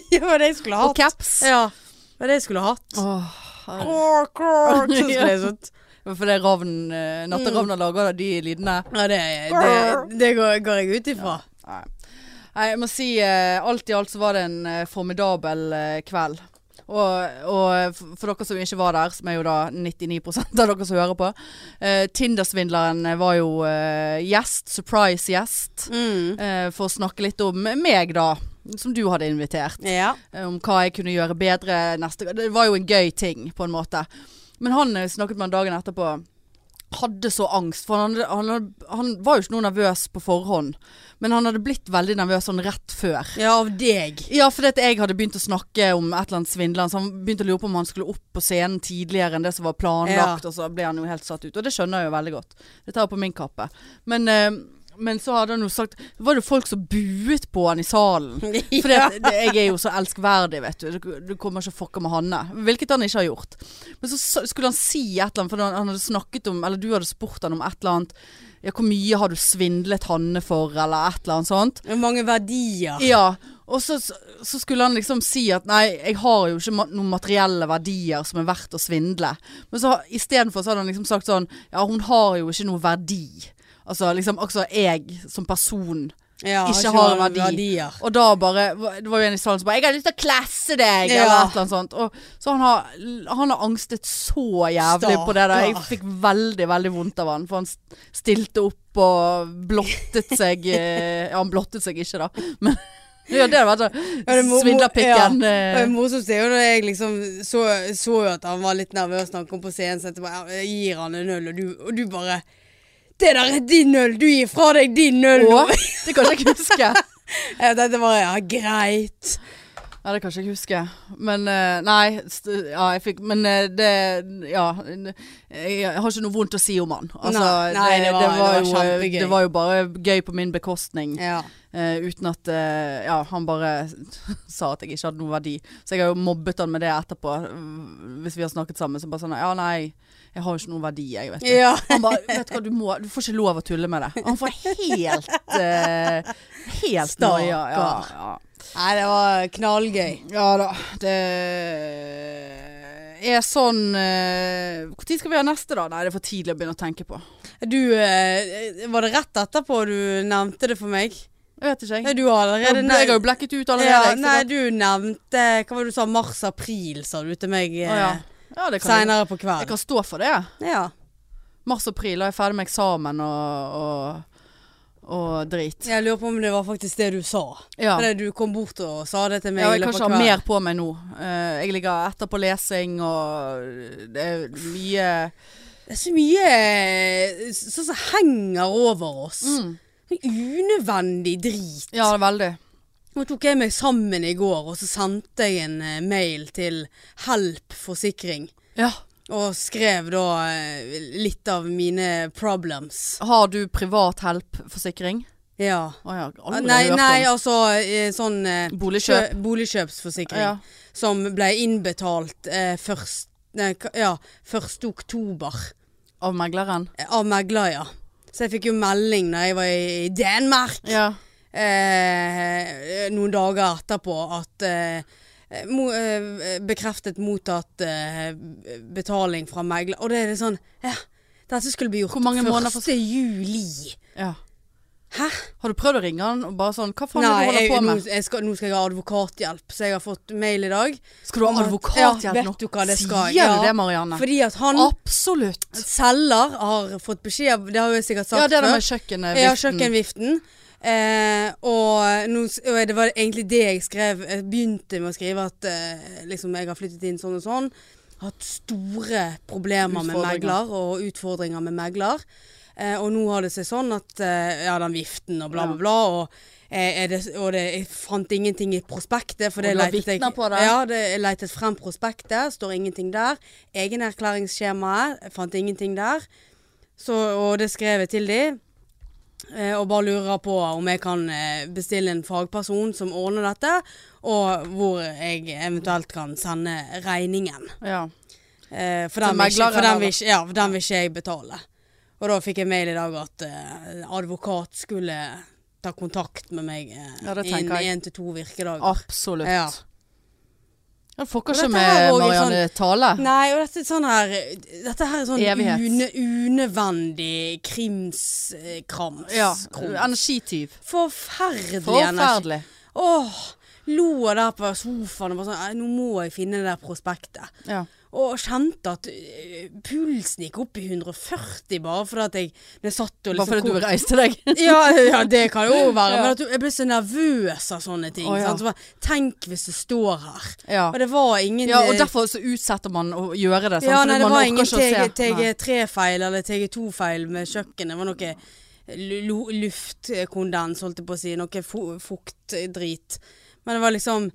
S2: det var det jeg skulle
S1: og
S2: hatt.
S1: caps.
S2: Ja, det var det jeg skulle hatt.
S1: Åh, herregud.
S2: Krok, krok, så
S1: Ja.
S2: skulle jeg sånn. sånt.
S1: For det er ravn, eh, natteravner lager de lydene.
S2: Ja, det, det, det går, går jeg ut ifra.
S1: Nei. Nei, jeg må si eh, alt i alt så var det en eh, formidabel eh, kveld. Og, og f- for dere som ikke var der, som er jo da 99 av dere som hører på, eh, Tinder-svindleren eh, var jo eh, gjest, surprise-gjest,
S2: Mm.
S1: eh, for å snakke litt om meg, da. Som du hadde invitert
S2: Ja.
S1: eh, om hva jeg kunne gjøre bedre neste gang. Det var jo en gøy ting, på en måte. Men han eh, snakket med han dagen etterpå. Hadde så angst, for han, hadde- han, hadde- han var jo ikke noe nervøs på forhånd. Men han hadde blitt veldig nervøs sånn rett før.
S2: ja, av deg.
S1: Ja, fordi at jeg hadde begynt å snakke om et eller annet svindlende, så han begynte å lure på om han skulle opp på scenen tidligere enn det som var planlagt, og så ble han jo helt satt ut. Og det skjønner jeg jo veldig godt. Det tar jeg på min kappe. Men, eh, Men så hadde han jo sagt Var det folk som buet på han i salen? For
S2: Ja.
S1: jeg er jo så elskverdig, vet du. Du- Du kommer ikke å fucke med Hanne. Hvilket han ikke har gjort. Men så sa- skulle han si et eller annet, for han han hadde snakket om Eller du hadde spurt han om et eller annet. Ja, hvor mye har du svindlet Hanne for, eller et eller annet sånt.
S2: Det er Mange verdier.
S1: Ja, og så, så skulle han liksom si at nei, jeg har jo ikke ma noen materielle verdier som er verdt å svindle. Men så istedenfor så hadde han liksom sagt sånn ja, hun har jo ikke noen verdi. Altså liksom også jeg som person.
S2: Ja,
S1: Ikke har
S2: noen
S1: verdi.
S2: verdier.
S1: Og da bare Det var jo en i salen som bare 'Jeg har lyst til å klasse deg',
S2: Ja.
S1: eller et eller annet sånt. Og, så han har, han har angstet så jævlig på det der. Jeg
S2: Stakkar.
S1: fikk veldig, veldig vondt av han. For han s- stilte opp og blottet seg eh, Ja, han blottet seg ikke, da. Men ja, det hadde vært
S2: Ja, det
S1: sånn
S2: må- må-
S1: Svindlerpikken.
S2: Og det
S1: eh,
S2: morsomste er jo når jeg liksom så, så jo at han var litt nervøs når han kom på scenen, så jeg bare ja, jeg gir han en øl, og du, og du bare Det der er din øl! Du gir fra deg din øl! nå!»
S1: Og det kan jeg ikke huske.
S2: Jeg tenkte bare ja, greit.
S1: Ja, det kan ikke jeg huske. Men eh, Nei. St ja, jeg fikk Men eh, det Ja. n- Jeg har ikke noe vondt å si om han. Altså,
S2: Nei, nei, det var- det var
S1: jo, eh,
S2: kjempegøy.
S1: det var jo bare gøy på min bekostning.
S2: Ja.
S1: eh, uten at eh, Ja, han bare sa at jeg ikke hadde noen verdi. Så jeg har jo mobbet han med det etterpå. mm, Hvis vi har snakket sammen. Så bare sånn Ja, nei, jeg har jo ikke noen verdi, jeg, vet du.
S2: ja.
S1: Han bare Vet du hva, du må Du får ikke lov å tulle med det. Og Han får helt eh, Helt
S2: Stakkar.
S1: noia. Ja, ja.
S2: Nei, det var knallgøy.
S1: Ja da, det er sånn eh, Hvor tid skal vi ha neste da? Nei, det er for tidlig å begynne å tenke på.
S2: Du eh, Var det rett etterpå du nevnte det for meg?
S1: Jeg vet ikke,
S2: Nei,
S1: jeg.
S2: du har
S1: Jeg,
S2: allerede
S1: har jo blekket ut allerede.
S2: ja,
S1: jeg, så
S2: Nei,
S1: da-
S2: du nevnte Hva var det du sa? Mars-april, sa du til meg eh,
S1: Å, ja. ja, det kan jeg.
S2: seinere på
S1: jeg
S2: kvelden.
S1: kan stå for det.
S2: Ja.
S1: Mars-april, da er jeg ferdig med eksamen og, og, og drit.
S2: Jeg lurer på om det var faktisk det du sa.
S1: Ja.
S2: Fordi du kom bort og sa det til meg.
S1: Ja,
S2: i
S1: jeg kan
S2: løpet
S1: ikke ha
S2: av kvelden.
S1: mer på meg nå. Eh, jeg ligger etter på lesing og eh, det er mye
S2: Det er så mye eh, sånn som henger over oss.
S1: Mm.
S2: Sånn Unødvendig drit.
S1: Ja, veldig.
S2: Nå tok jeg meg sammen i går, og så sendte jeg en eh, mail til Help forsikring.
S1: Ja.
S2: Og skrev da eh, litt av mine problems.
S1: Har du privat help-forsikring?
S2: Ja.
S1: Å ja, aldri
S2: Nei,
S1: hørt om.
S2: nei altså eh, sånn eh,
S1: Boligkjøp.
S2: kjø- Boligkjøpsforsikring.
S1: Ja.
S2: Som ble innbetalt eh, først, nei, ka- ja, 1. oktober.
S1: Av megleren?
S2: av megler, ja. Så jeg fikk jo melding når jeg var i Danmark
S1: Ja.
S2: eh, noen dager etterpå at eh, mo, eh, bekreftet mottatt eh, betaling fra megler. Og det er det sånn ja, Dette skulle bli gjort
S1: Hvor mange måneder
S2: 1. juli.
S1: ja.
S2: Hæ?
S1: Har du prøvd å ringe han og bare sånn Hva faen er
S2: Nei,
S1: det du
S2: jeg,
S1: holder på
S2: nå,
S1: med?
S2: jeg skal, nå skal jeg ha advokathjelp, så jeg har fått mail i dag.
S1: Skal du ha
S2: Om at- ja,
S1: advokathjelp
S2: vet
S1: nå?
S2: du hva det skal,
S1: Sier
S2: ja.
S1: du det, Marianne?
S2: Fordi at han
S1: Absolutt.
S2: selger har fått beskjed av Det har jo jeg sikkert sagt
S1: Ja, det der
S2: før.
S1: med kjøkkenet.
S2: Ja,
S1: viften.
S2: kjøkkenviften. Eh, og, nå, s- og det var egentlig det jeg skrev. Jeg begynte med å skrive at eh, liksom, jeg har flyttet inn sånn og sånn. Hatt store problemer med
S1: Utfordringer.
S2: megler og utfordringer med megler. Eh, og nå har det seg sånn at eh, ja, den viften og bla, bla, bla. Og, eh, er det, og det, jeg fant ingenting i prospektet. For
S1: Og
S2: det
S1: du har
S2: letet jeg-
S1: vitner på det.
S2: Ja, det, jeg letet frem prospektet. Står ingenting der. Egenerklæringsskjemaet. jeg Fant ingenting der. Så, og det skrev jeg til de. Eh, og bare lurer på om jeg kan eh, bestille en fagperson som ordner dette, og hvor jeg eventuelt kan sende regningen.
S1: Ja.
S2: Eh, for,
S1: Til
S2: den vil ikke,
S1: megleren,
S2: for den
S1: eller?
S2: vil ikke, ja, for den vil ikke jeg betale. Og da fikk jeg mail i dag at eh, advokat skulle ta kontakt med meg eh,
S1: Ja, det tenker
S2: innen
S1: jeg.
S2: én til to virkedager.
S1: Absolutt.
S2: Ja.
S1: Jeg fucker
S2: Og
S1: ikke
S2: dette her
S1: med
S2: også er
S1: Marianne Tale.
S2: Nei, og dette er sånn her Dette her er sånn
S1: Evighet.
S2: une, unødvendig krimskrams.
S1: Ja. Energityv.
S2: Forferdelig, energi.
S1: Forferdelig.
S2: Åh, lo jeg der på sofaen og bare sånn, «Nei, nå må jeg finne det der prospektet.
S1: Ja.
S2: Og kjente at øh, pulsen gikk opp i 140 bare fordi at jeg, når jeg satt og
S1: Bare
S2: liksom
S1: fordi du
S2: kom-
S1: reiste deg.
S2: ja, ja, det kan jo være.
S1: Ja.
S2: Men at du, jeg ble så nervøs av sånne ting.
S1: Å, ja.
S2: sant? Så bare, tenk hvis det står her.
S1: Ja.
S2: Og det var ingen eh,
S1: ja, og derfor så utsetter man å gjøre det. Sant?
S2: ja,
S1: Fordi
S2: nei, det
S1: man
S2: var
S1: orker
S2: ingen
S1: ikke å se. Nei.
S2: TG3-feil eller TG2-feil med kjøkkenet. Det var noe lu- lu- luftkondens, holdt jeg på å si. Noe fu- fuktdrit. Men det var liksom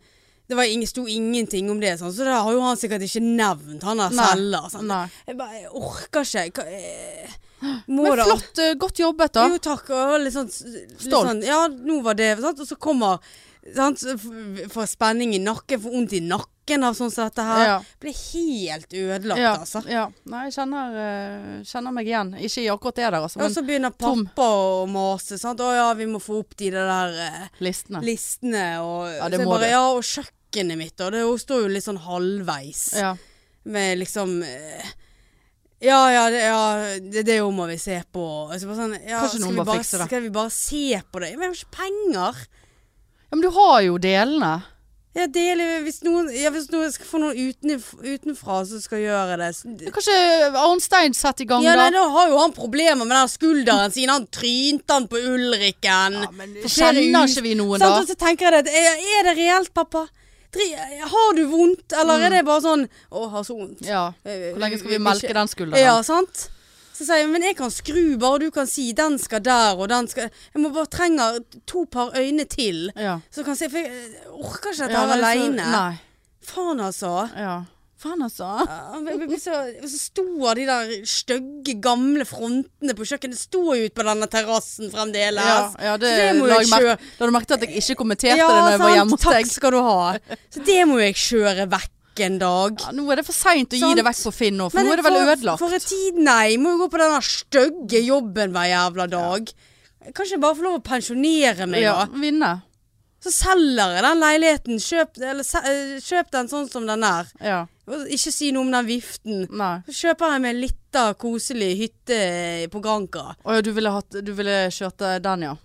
S2: Det var ingen, sto ingenting om det, sånn. så det har jo han sikkert ikke nevnt, han der
S1: Nei.
S2: selger. Sånn.
S1: Nei.
S2: Jeg, bare, jeg orker ikke. Hva- eh, Må
S1: Men
S2: da-
S1: flott, eh, godt jobbet da.
S2: Jo, takk. Og litt sånn, litt
S1: Stolt.
S2: Sånn, ja, nå var det sant? Og så kommer sant? f- Får spenning i nakken, får vondt i nakken av sånn som dette her.
S1: Ja.
S2: Blir helt ødelagt,
S1: Ja,
S2: altså.
S1: ja. Nei, jeg kjenner, eh, kjenner meg igjen. Ikke i akkurat det der, altså,
S2: Og
S1: men
S2: så begynner
S1: tom.
S2: pappa å mase. Sant? 'Å ja, vi må få opp de der eh,
S1: listene.
S2: listene', og
S1: Ja, det
S2: så jeg
S1: må
S2: bare,
S1: du.
S2: ja, og kjøkkenet mitt, og det hun står jo litt sånn halvveis.
S1: Ja.
S2: Med liksom eh, Ja, ja, det, ja, det, det jo må vi se på. Og så bare sånn, ja,
S1: Kanskje
S2: skal,
S1: noen
S2: vi
S1: må
S2: bare,
S1: fikse det.
S2: skal vi bare se på det? Men jeg har ikke penger.
S1: ja, men du har jo delene.
S2: Ja, delig, hvis, noen, ja, hvis noen skal få noen utenif, utenfra som skal gjøre det s-
S1: Ja, Kanskje Arnstein setter i gang
S2: Ja, nei,
S1: da?
S2: da har jo han problemer med den skulderen sin. Han trynte han på Ulriken.
S1: Ja, men
S2: Forskjellige
S1: kjenner
S2: ut-
S1: ikke vi noen
S2: Sant,
S1: da?
S2: og så tenker jeg det, at, er, er det reelt, pappa? Dri- Har du vondt, eller er det bare sånn Å, har så vondt. Eh,
S1: Ja. Mm. Hvor lenge skal vi melke den skulderen?
S2: altså- Ja, sant? Så sier jeg, men jeg kan skru bare, og du kan si den skal der, og den skal Jeg må bare trenger to par øyne til.
S1: Ja.
S2: Så kan jeg si, for jeg orker ikke dette
S1: Ja,
S2: her
S1: det er så-
S2: aleine.
S1: Nei.
S2: Faen, altså.
S1: Ja. Faen altså.
S2: Ja, men- men- men Så, så står de der stygge, gamle frontene på kjøkkenet Står jo ute på denne terrassen fremdeles.
S1: Ja, ja, det,
S2: Så det må
S1: la
S2: jo
S1: jeg
S2: jeg
S1: merke-
S2: kjøre.
S1: Da har du merket at jeg ikke kommenterte det når jeg var hjemme hos
S2: takk
S1: deg.
S2: skal du ha. Så det må jeg kjøre vekk en dag.
S1: Ja, nå er det for seint å gi
S2: Sant.
S1: det vekk på Finn nå, for nå er det vel
S2: for-
S1: ødelagt.
S2: For en tid, nei. Må jo gå på denne stygge jobben hver jævla dag. Kanskje jeg bare får lov å pensjonere meg,
S1: Ja,
S2: da.
S1: vinne.
S2: Så selger jeg den leiligheten. Kjøp, eller, se- eh, kjøp den sånn som den er.
S1: Ja.
S2: Og Ikke si noe om den viften.
S1: Nei.
S2: Så kjøper jeg meg en lita, koselig hytte på Granca.
S1: Å ja, du ville, hatt, du ville kjørt eh, den, ja.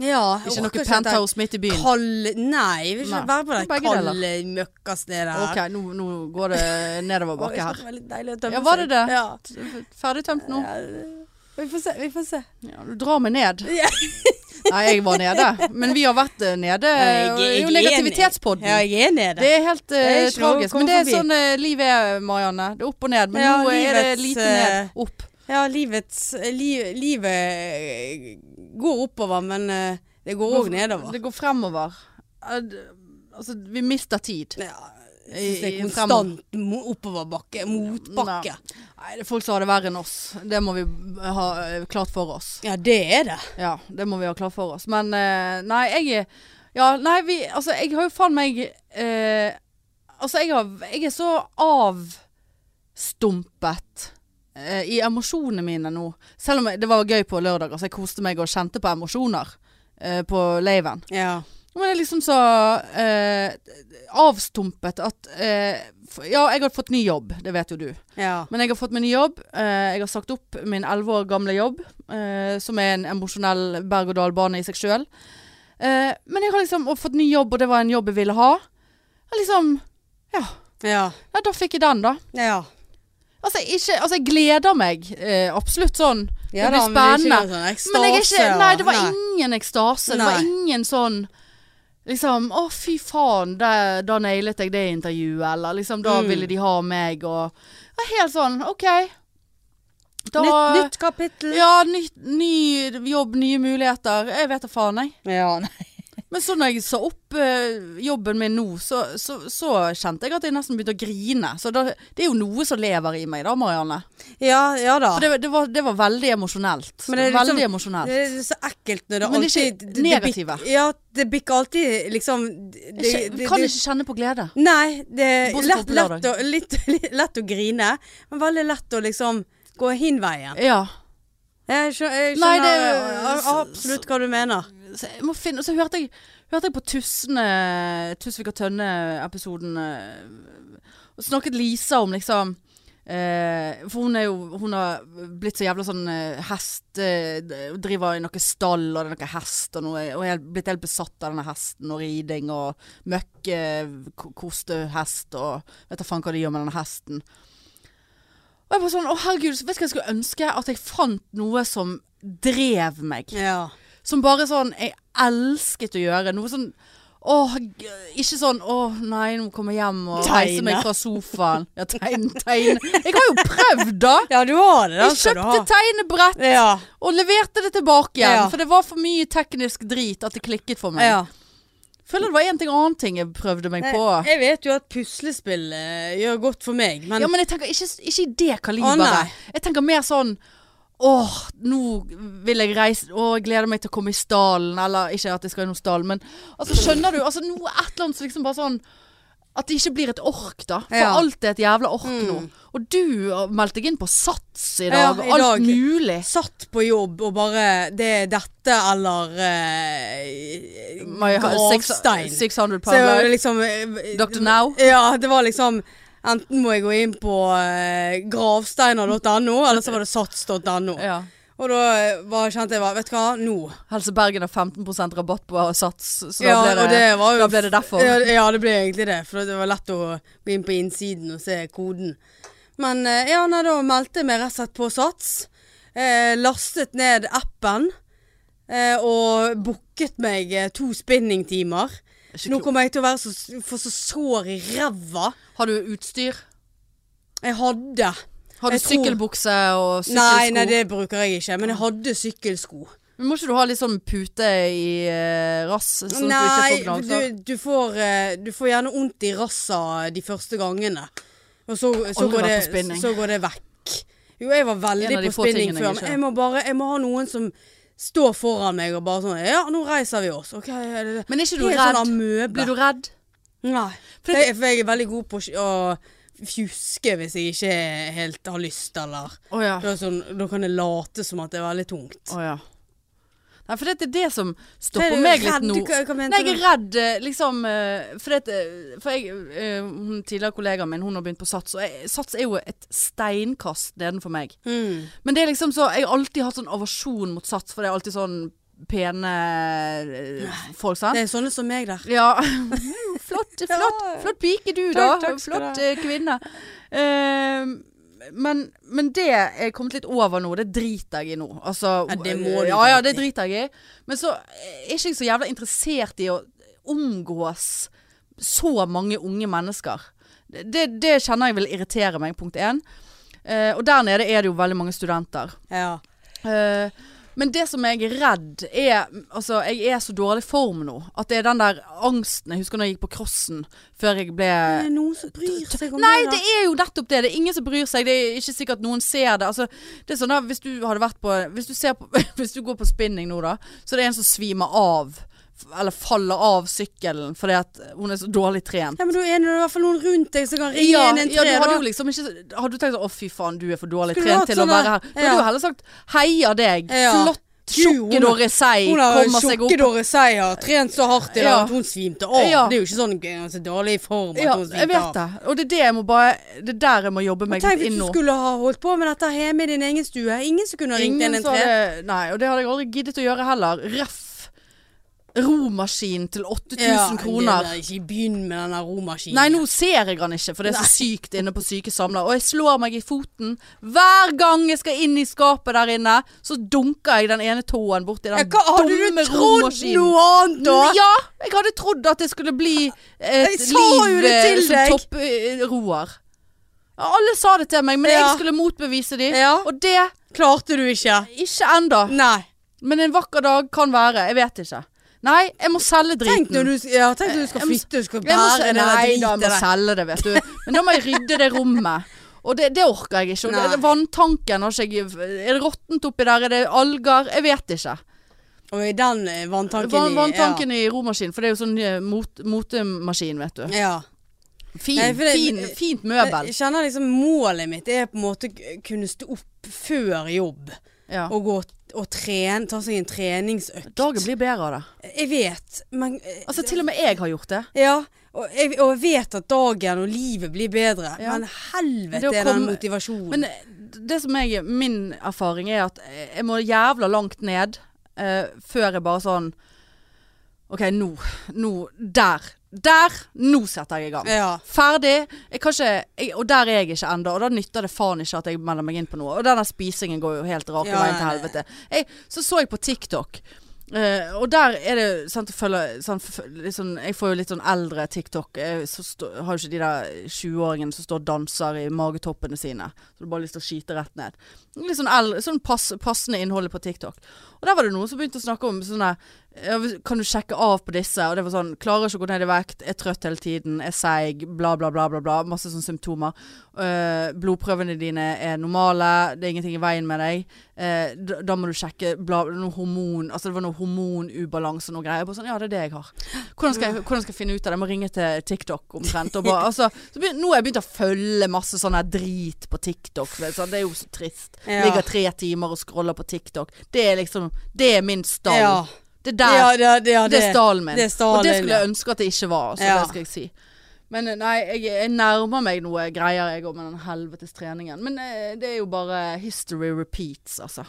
S2: Ja,
S1: Ikke noe penthouse midt i byen.
S2: Kald Nei, jeg vil
S1: Nei,
S2: ikke være på
S1: det er
S2: det
S1: begge
S2: kalde møkkastedet her.
S1: Ok, nå, nå går det nedover
S2: Å, jeg
S1: bakke
S2: synes
S1: her.
S2: det var litt deilig å tømme
S1: Ja, var det
S2: seg.
S1: det?
S2: Ja.
S1: Ferdig tømt nå.
S2: eh, Vi får se. Vi får se.
S1: Ja, du drar meg ned.
S2: Ja.
S1: Nei, jeg var nede. Men vi har vært eh, nede.
S2: Jeg-
S1: Det er
S2: jeg
S1: jo
S2: er
S1: negativitetspodden.
S2: Ja, jeg er nede.
S1: Det er helt eh,
S2: Det er ikke noe å
S1: tragisk. Men
S2: komme
S1: det er
S2: forbi.
S1: sånn eh, livet er, Marianne. Det er opp og ned. Men
S2: Ja,
S1: nå er det lite
S2: livets, eh,
S1: ned. Opp.
S2: Ja, livets li, Livet eh, går oppover, men eh, det går òg nedover.
S1: Det går fremover. Eh, d- Altså, vi mister tid.
S2: Ja, jeg synes det
S1: I-
S2: er
S1: i
S2: konstant mo- oppoverbakke. Motbakke.
S1: Nei, det er folk som har det verre enn oss. Det må vi b- ha eh, klart for oss.
S2: Ja, det er det.
S1: Ja, det må vi ha klart for oss. Men eh, nei, jeg er- Ja, nei, vi Altså, jeg har jo faen meg eh, Altså, jeg, har, jeg er så avstumpet eh, i emosjonene mine nå. Selv om jeg, det var gøy på lørdag. Altså, jeg koste meg og kjente på emosjoner eh, på laven.
S2: Ja.
S1: Men jeg er liksom så eh, avstumpet at eh, f- Ja, jeg har fått ny jobb, det vet jo du.
S2: ja.
S1: Men jeg har fått meg ny jobb. Eh, jeg har sagt opp min elleve år gamle jobb, eh, som er en emosjonell berg-og-dal-bane i seg sjøl. Eh, men jeg har liksom og fått ny jobb, og det var en jobb jeg ville ha. Jeg liksom Ja,
S2: Ja.
S1: ja da fikk jeg den, da.
S2: ja.
S1: Altså, ikke, altså jeg gleder meg eh, absolutt sånn. Det
S2: Ja
S1: blir
S2: da, men det er ikke
S1: spennende.
S2: noe sånn ekstase,
S1: Men jeg er ikke Nei, det var
S2: nei.
S1: ingen ekstase. Det var
S2: Nei.
S1: ingen sånn Liksom Å, fy faen, det, da nailet jeg det intervjuet, eller liksom Da
S2: Mm.
S1: ville de ha meg, og det var Helt sånn, OK. Da
S2: nytt, nytt kapittel.
S1: Ja, nytt, ny jobb, nye muligheter. Jeg vet da faen, jeg.
S2: Ja, nei.
S1: Men så når jeg sa opp eh, jobben min nå, så, så, så kjente jeg at jeg nesten begynte å grine. Så da, det er jo noe som lever i meg da, Marianne.
S2: ja, ja da.
S1: For det, det, var, det var veldig emosjonelt.
S2: Men det er liksom-
S1: veldig emosjonelt.
S2: Det er så ekkelt
S1: Men
S2: når det
S1: det er
S2: alltid
S1: ikke
S2: det- det bik-
S1: negative.
S2: Ja, det bikker alltid liksom det,
S1: Jeg kje-
S2: det-
S1: kan
S2: det-
S1: ikke kjenne på glede.
S2: Nei, det er
S1: Bortsett fra
S2: lett,
S1: på
S2: lett,
S1: lørdag.
S2: å, litt, litt, lett å grine, men veldig lett å liksom gå hin veien.
S1: Ja.
S2: Jeg skjønner, jeg
S1: Nei,
S2: skjønner
S1: det-
S2: a- a- absolutt hva du mener.
S1: Så jeg må finne, og så hørte jeg, hørte jeg på Tussene, Tusvik og Tønne-episoden eh, og Snakket Lisa om liksom eh, For hun er jo Hun har blitt så jævla sånn eh, hest eh, d- Driver i noe stall, og det er noe hest, og, noe, og jeg er blitt helt besatt av denne hesten, og riding og møkkekostehest, og vet da faen hva de gjør med denne hesten. Og jeg bare sånn Å, herregud, vet du hva jeg skulle ønske? At jeg fant noe som drev meg.
S2: Ja.
S1: Som bare sånn Jeg elsket å gjøre noe sånn Åh, g- ikke sånn Åh, nei, nå kommer jeg hjem og reiser
S2: Tegne.
S1: meg fra sofaen. Ja, tegne, tegne. Jeg har jo prøvd, da!
S2: ja, du har det.
S1: Jeg kjøpte tegnebrett
S2: Ja.
S1: og leverte det tilbake igjen.
S2: Ja.
S1: For det var for mye teknisk drit at det klikket for meg.
S2: ja.
S1: Føler det var én ting annen ting jeg prøvde meg på.
S2: Jeg, jeg vet jo at puslespill eh, gjør godt for meg, men
S1: Ja, men jeg tenker ikke, ikke i det
S2: Å, nei.
S1: kaliberet. Jeg tenker mer sånn Åh, nå vil jeg reise Åh, jeg gleder meg til å komme i stallen Eller ikke at jeg skal i noen stall Men altså, skjønner du, altså noe et eller annet som liksom bare sånn At det ikke blir et ork da For
S2: Ja. Mm.
S1: alt er et jævla ork nå Og du ah, meldte deg inn på sats i
S2: Ja,
S1: dag
S2: i
S1: Alt
S2: dag.
S1: mulig
S2: Satt på jobb og bare Det er dette eller eh,
S1: My, six-
S2: Gravstein.
S1: 600
S2: Så jeg var
S1: pound
S2: liksom eh,
S1: Dr. Now?
S2: Ja, det var liksom Enten må jeg gå inn på eh, gravsteiner.no, eller så var det sats.no.
S1: ja.
S2: Og da eh, var, kjente jeg bare Vet du hva, nå
S1: Helse Bergen har 15% rabatt på sats Så da
S2: ja,
S1: ble
S2: og
S1: det,
S2: det var jo,
S1: da ble det derfor.
S2: Ja, det- ja, det ble egentlig det. For det var lett å gå inn på innsiden og se koden. Men eh, ja, nei, da meldte jeg meg rett og slett på Sats. Eh, lastet ned appen. Eh, og booket meg eh, to spinningtimer.
S1: Ikke
S2: Nå
S1: klo-
S2: kommer jeg til å være så, s- få så sår i ræva.
S1: Har du utstyr?
S2: Jeg hadde
S1: Har du
S2: Jeg tror-
S1: sykkelbukse og sykkelsko?
S2: Nei, nei, det bruker jeg ikke. Men jeg hadde sykkelsko.
S1: Men må ikke du ha litt sånn pute i eh, rass? Sånn at du
S2: Nei,
S1: ikke får
S2: du,
S1: gnagsopp?
S2: du, får, eh, du får gjerne vondt i rassa de første gangene. Og så, så,
S1: Aldri
S2: går,
S1: vært på
S2: det,
S1: spinning.
S2: så går det vekk. Jo, jeg var
S1: En
S2: veldig
S1: av de
S2: på
S1: få
S2: spinning
S1: tingene jeg
S2: før, men
S1: ikke-
S2: jeg må bare Jeg må ha noen som står foran meg og bare sånn Ja, nå reiser vi oss. OK. er det-
S1: Men er ikke du
S2: Helt
S1: redd?
S2: sånn amøbe.
S1: Blir du redd?
S2: Nei. For jeg, for jeg er veldig god på å fjuske hvis jeg ikke helt har lyst, eller
S1: Å ja.
S2: da, er det sånn, da kan jeg late som at det er veldig tungt.
S1: Å ja. Nei, for det er det som
S2: Så er
S1: stopper
S2: du
S1: meg
S2: redd,
S1: litt nå.
S2: Hva, hva mente
S1: Nei, jeg
S2: du?
S1: er redd, eh, liksom eh, For, det, at, eh, for jeg, eh, hun tidligere kollegaen min, hun har begynt på Sats. Og jeg, Sats er jo et steinkast nedenfor meg.
S2: Mm.
S1: Men det er liksom så Jeg har alltid hatt sånn avasjon mot Sats, for det er alltid sånn pene eh, folk, sant?
S2: Det er sånne som meg der.
S1: Ja. Mhm, flott, flott,
S2: Ja.
S1: flott pike du, da.
S2: Takk, takk skal du ha.
S1: flott eh, kvinne. Ehm, men, men det er jeg kommet litt over nå. Det driter jeg i nå. Altså,
S2: Ja, det må du
S1: ja, ja, det
S2: drite i.
S1: driter jeg i. Men så er ikke jeg så jævla interessert i å omgås så mange unge mennesker. Det, det, det kjenner jeg vil irritere meg, punkt én. Eh, og der nede er det jo veldig mange studenter.
S2: Ja.
S1: Eh, men det som jeg er redd er Altså, jeg er så dårlig form nå. At det er den der angsten Jeg husker når jeg gikk på crossen før jeg ble
S2: Er det noen som bryr seg om
S1: Nei,
S2: da?
S1: det er jo nettopp det. Det er ingen som bryr seg. Det er ikke sikkert noen ser det. Altså, det er sånn da, Hvis du hadde vært på Hvis du, ser på, hvis du går på spinning nå, da, så er det en som svimer av. f- Eller faller av sykkelen fordi at hun er så dårlig trent.
S2: Ja, men da er det i hvert fall noen rundt deg som kan ringe
S1: Ja,
S2: inn en
S1: ja,
S2: tre.
S1: du hadde jo
S2: da.
S1: liksom ikke Hadde du tenkt sånn Å, fy faen, du er for dårlig
S2: Skulle du hatt
S1: trent til å
S2: sånn
S1: være her.
S2: der-
S1: Du hadde
S2: ja.
S1: jo heller sagt heia deg.
S2: Ja.
S1: Flott.
S2: Gud, hun
S1: Tjukke
S2: er-
S1: Dore Sei
S2: hun har
S1: kommer seg opp.
S2: sjokkedåre seier, trent så hardt i dag
S1: Ja.
S2: at hun svimte av.
S1: Ja.
S2: Det er jo ikke sånn eh, så dårlig i form at
S1: Ja,
S2: hun
S1: jeg
S2: svimte
S1: vet
S2: av.
S1: det. Og det er det jeg må bare Det er der jeg må jobbe meg
S2: Tenk
S1: litt
S2: hvis
S1: inn
S2: du
S1: nå.
S2: skulle ha holdt på med dette hjemme i din egen stue. Ingen som kunne ha ringt
S1: Ingen
S2: 113.
S1: hadde- Nei, og det hadde jeg aldri giddet å gjøre heller. Ref. Romaskin til 8000 kroner.
S2: Ikke begynn med den der romaskinen.
S1: Nei, nå ser jeg han ikke, for det er så sykt inne på syke samler. Og jeg slår meg i foten. Hver gang jeg skal inn i skapet der inne, så dunker jeg den ene tåen borti den
S2: ja, hva hadde du
S1: dumme
S2: trodd
S1: romaskinen. Mm,
S2: noe annet da?
S1: Ja, jeg hadde trodd at det skulle bli et
S2: Jeg sa jo
S1: liv
S2: det
S1: eh,
S2: til
S1: som
S2: deg.
S1: topproer. Ja, alle sa det til meg, men
S2: Ja.
S1: jeg skulle motbevise dem.
S2: Ja.
S1: Og det
S2: Klarte du ikke?
S1: ikke ennå.
S2: Nei.
S1: Men en vakker dag kan være. Jeg vet ikke. Nei, jeg må selge driten.
S2: Tenk når du, ja, tenk når du skal
S1: Eh, Jeg må-
S2: flytte, du skal
S1: Jeg må se-
S2: bære den der
S1: Nei, da
S2: driten
S1: jeg må
S2: der.
S1: selge det, vet du. Men da må jeg rydde det rommet. Og det, det orker jeg ikke. Og det,
S2: Nei.
S1: vanntanken har ikke jeg Er det råttent oppi der? Er det alger? Jeg vet ikke.
S2: Og i den eh, vanntanken i-
S1: Vann- Vanntanken i romaskin, for det er jo sånn eh, mot, motemaskin, vet du.
S2: Ja. ja.
S1: Fin,
S2: Nei, for det-
S1: fin, fint møbel.
S2: Jeg kjenner liksom målet mitt er på en måte å kunne stå opp før jobb
S1: Ja.
S2: og gå og trene, ta seg en treningsøkt.
S1: Dagen blir bedre av det.
S2: Jeg vet, men eh,
S1: Altså Til og med jeg har gjort det.
S2: Ja. Og jeg, og jeg vet at dagen og livet blir bedre,
S1: Ja.
S2: men
S1: Det å
S2: helvete er den
S1: komme-
S2: motivasjonen.
S1: Men det som jeg, min erfaring er at jeg må jævla langt ned eh, før jeg bare sånn OK, nå. Nå. Der. Der! Nå setter jeg i gang.
S2: ja.
S1: Ferdig. Jeg kan ikke, jeg, og der er jeg ikke ennå. Og da nytter det faen ikke at jeg melder meg inn på noe. Og den der spisingen går jo helt rake
S2: Ja,
S1: veien til
S2: nei, nei.
S1: helvete. Jeg, så så jeg på TikTok. eh, og der er det sant, å følge, sånn, f- litt sånn- Jeg får jo litt sånn eldre TikTok. Jeg så stå, har jo ikke de der 20-åringene som står og danser i magetoppene sine. Så du bare har lyst til å skyte rett ned. Litt sånn, eldre, sånn pass, passende innholdet på TikTok. Og der var det noen som begynte å snakke om sånne ja, hvis- Kan du sjekke av på disse? Og det var sånn Klarer ikke å gå ned i vekt, er trøtt hele tiden, er seig, bla, bla, bla. bla, bla Masse sånne symptomer. Eh, blodprøvene dine er normale, det er ingenting i veien med deg. Eh, da, da må du sjekke bla, noe hormon Altså det var noe hormonubalanse og noe greier. Jeg bare sånn, ja, det er det jeg har. Hvordan skal jeg, hvordan skal jeg finne ut av det? Jeg må ringe til TikTok omtrent. Og bare, altså, så begyn, nå har jeg begynt å følge masse sånn her drit på TikTok. vet du, sånn, Det er jo så trist.
S2: Ja.
S1: Ligger tre timer og scroller på TikTok. Det er liksom Det er min stall.
S2: Ja.
S1: Det der,
S2: Ja, ja, ja,
S1: det, er stallen min.
S2: det er stallen,
S1: og det skulle
S2: ja.
S1: jeg ønske at det ikke var. Altså,
S2: Ja.
S1: det skal jeg si. Men eh, nei, jeg, jeg nærmer meg noe greier jeg òg med den helvetes treningen. Men eh, det er jo bare history repeats, altså.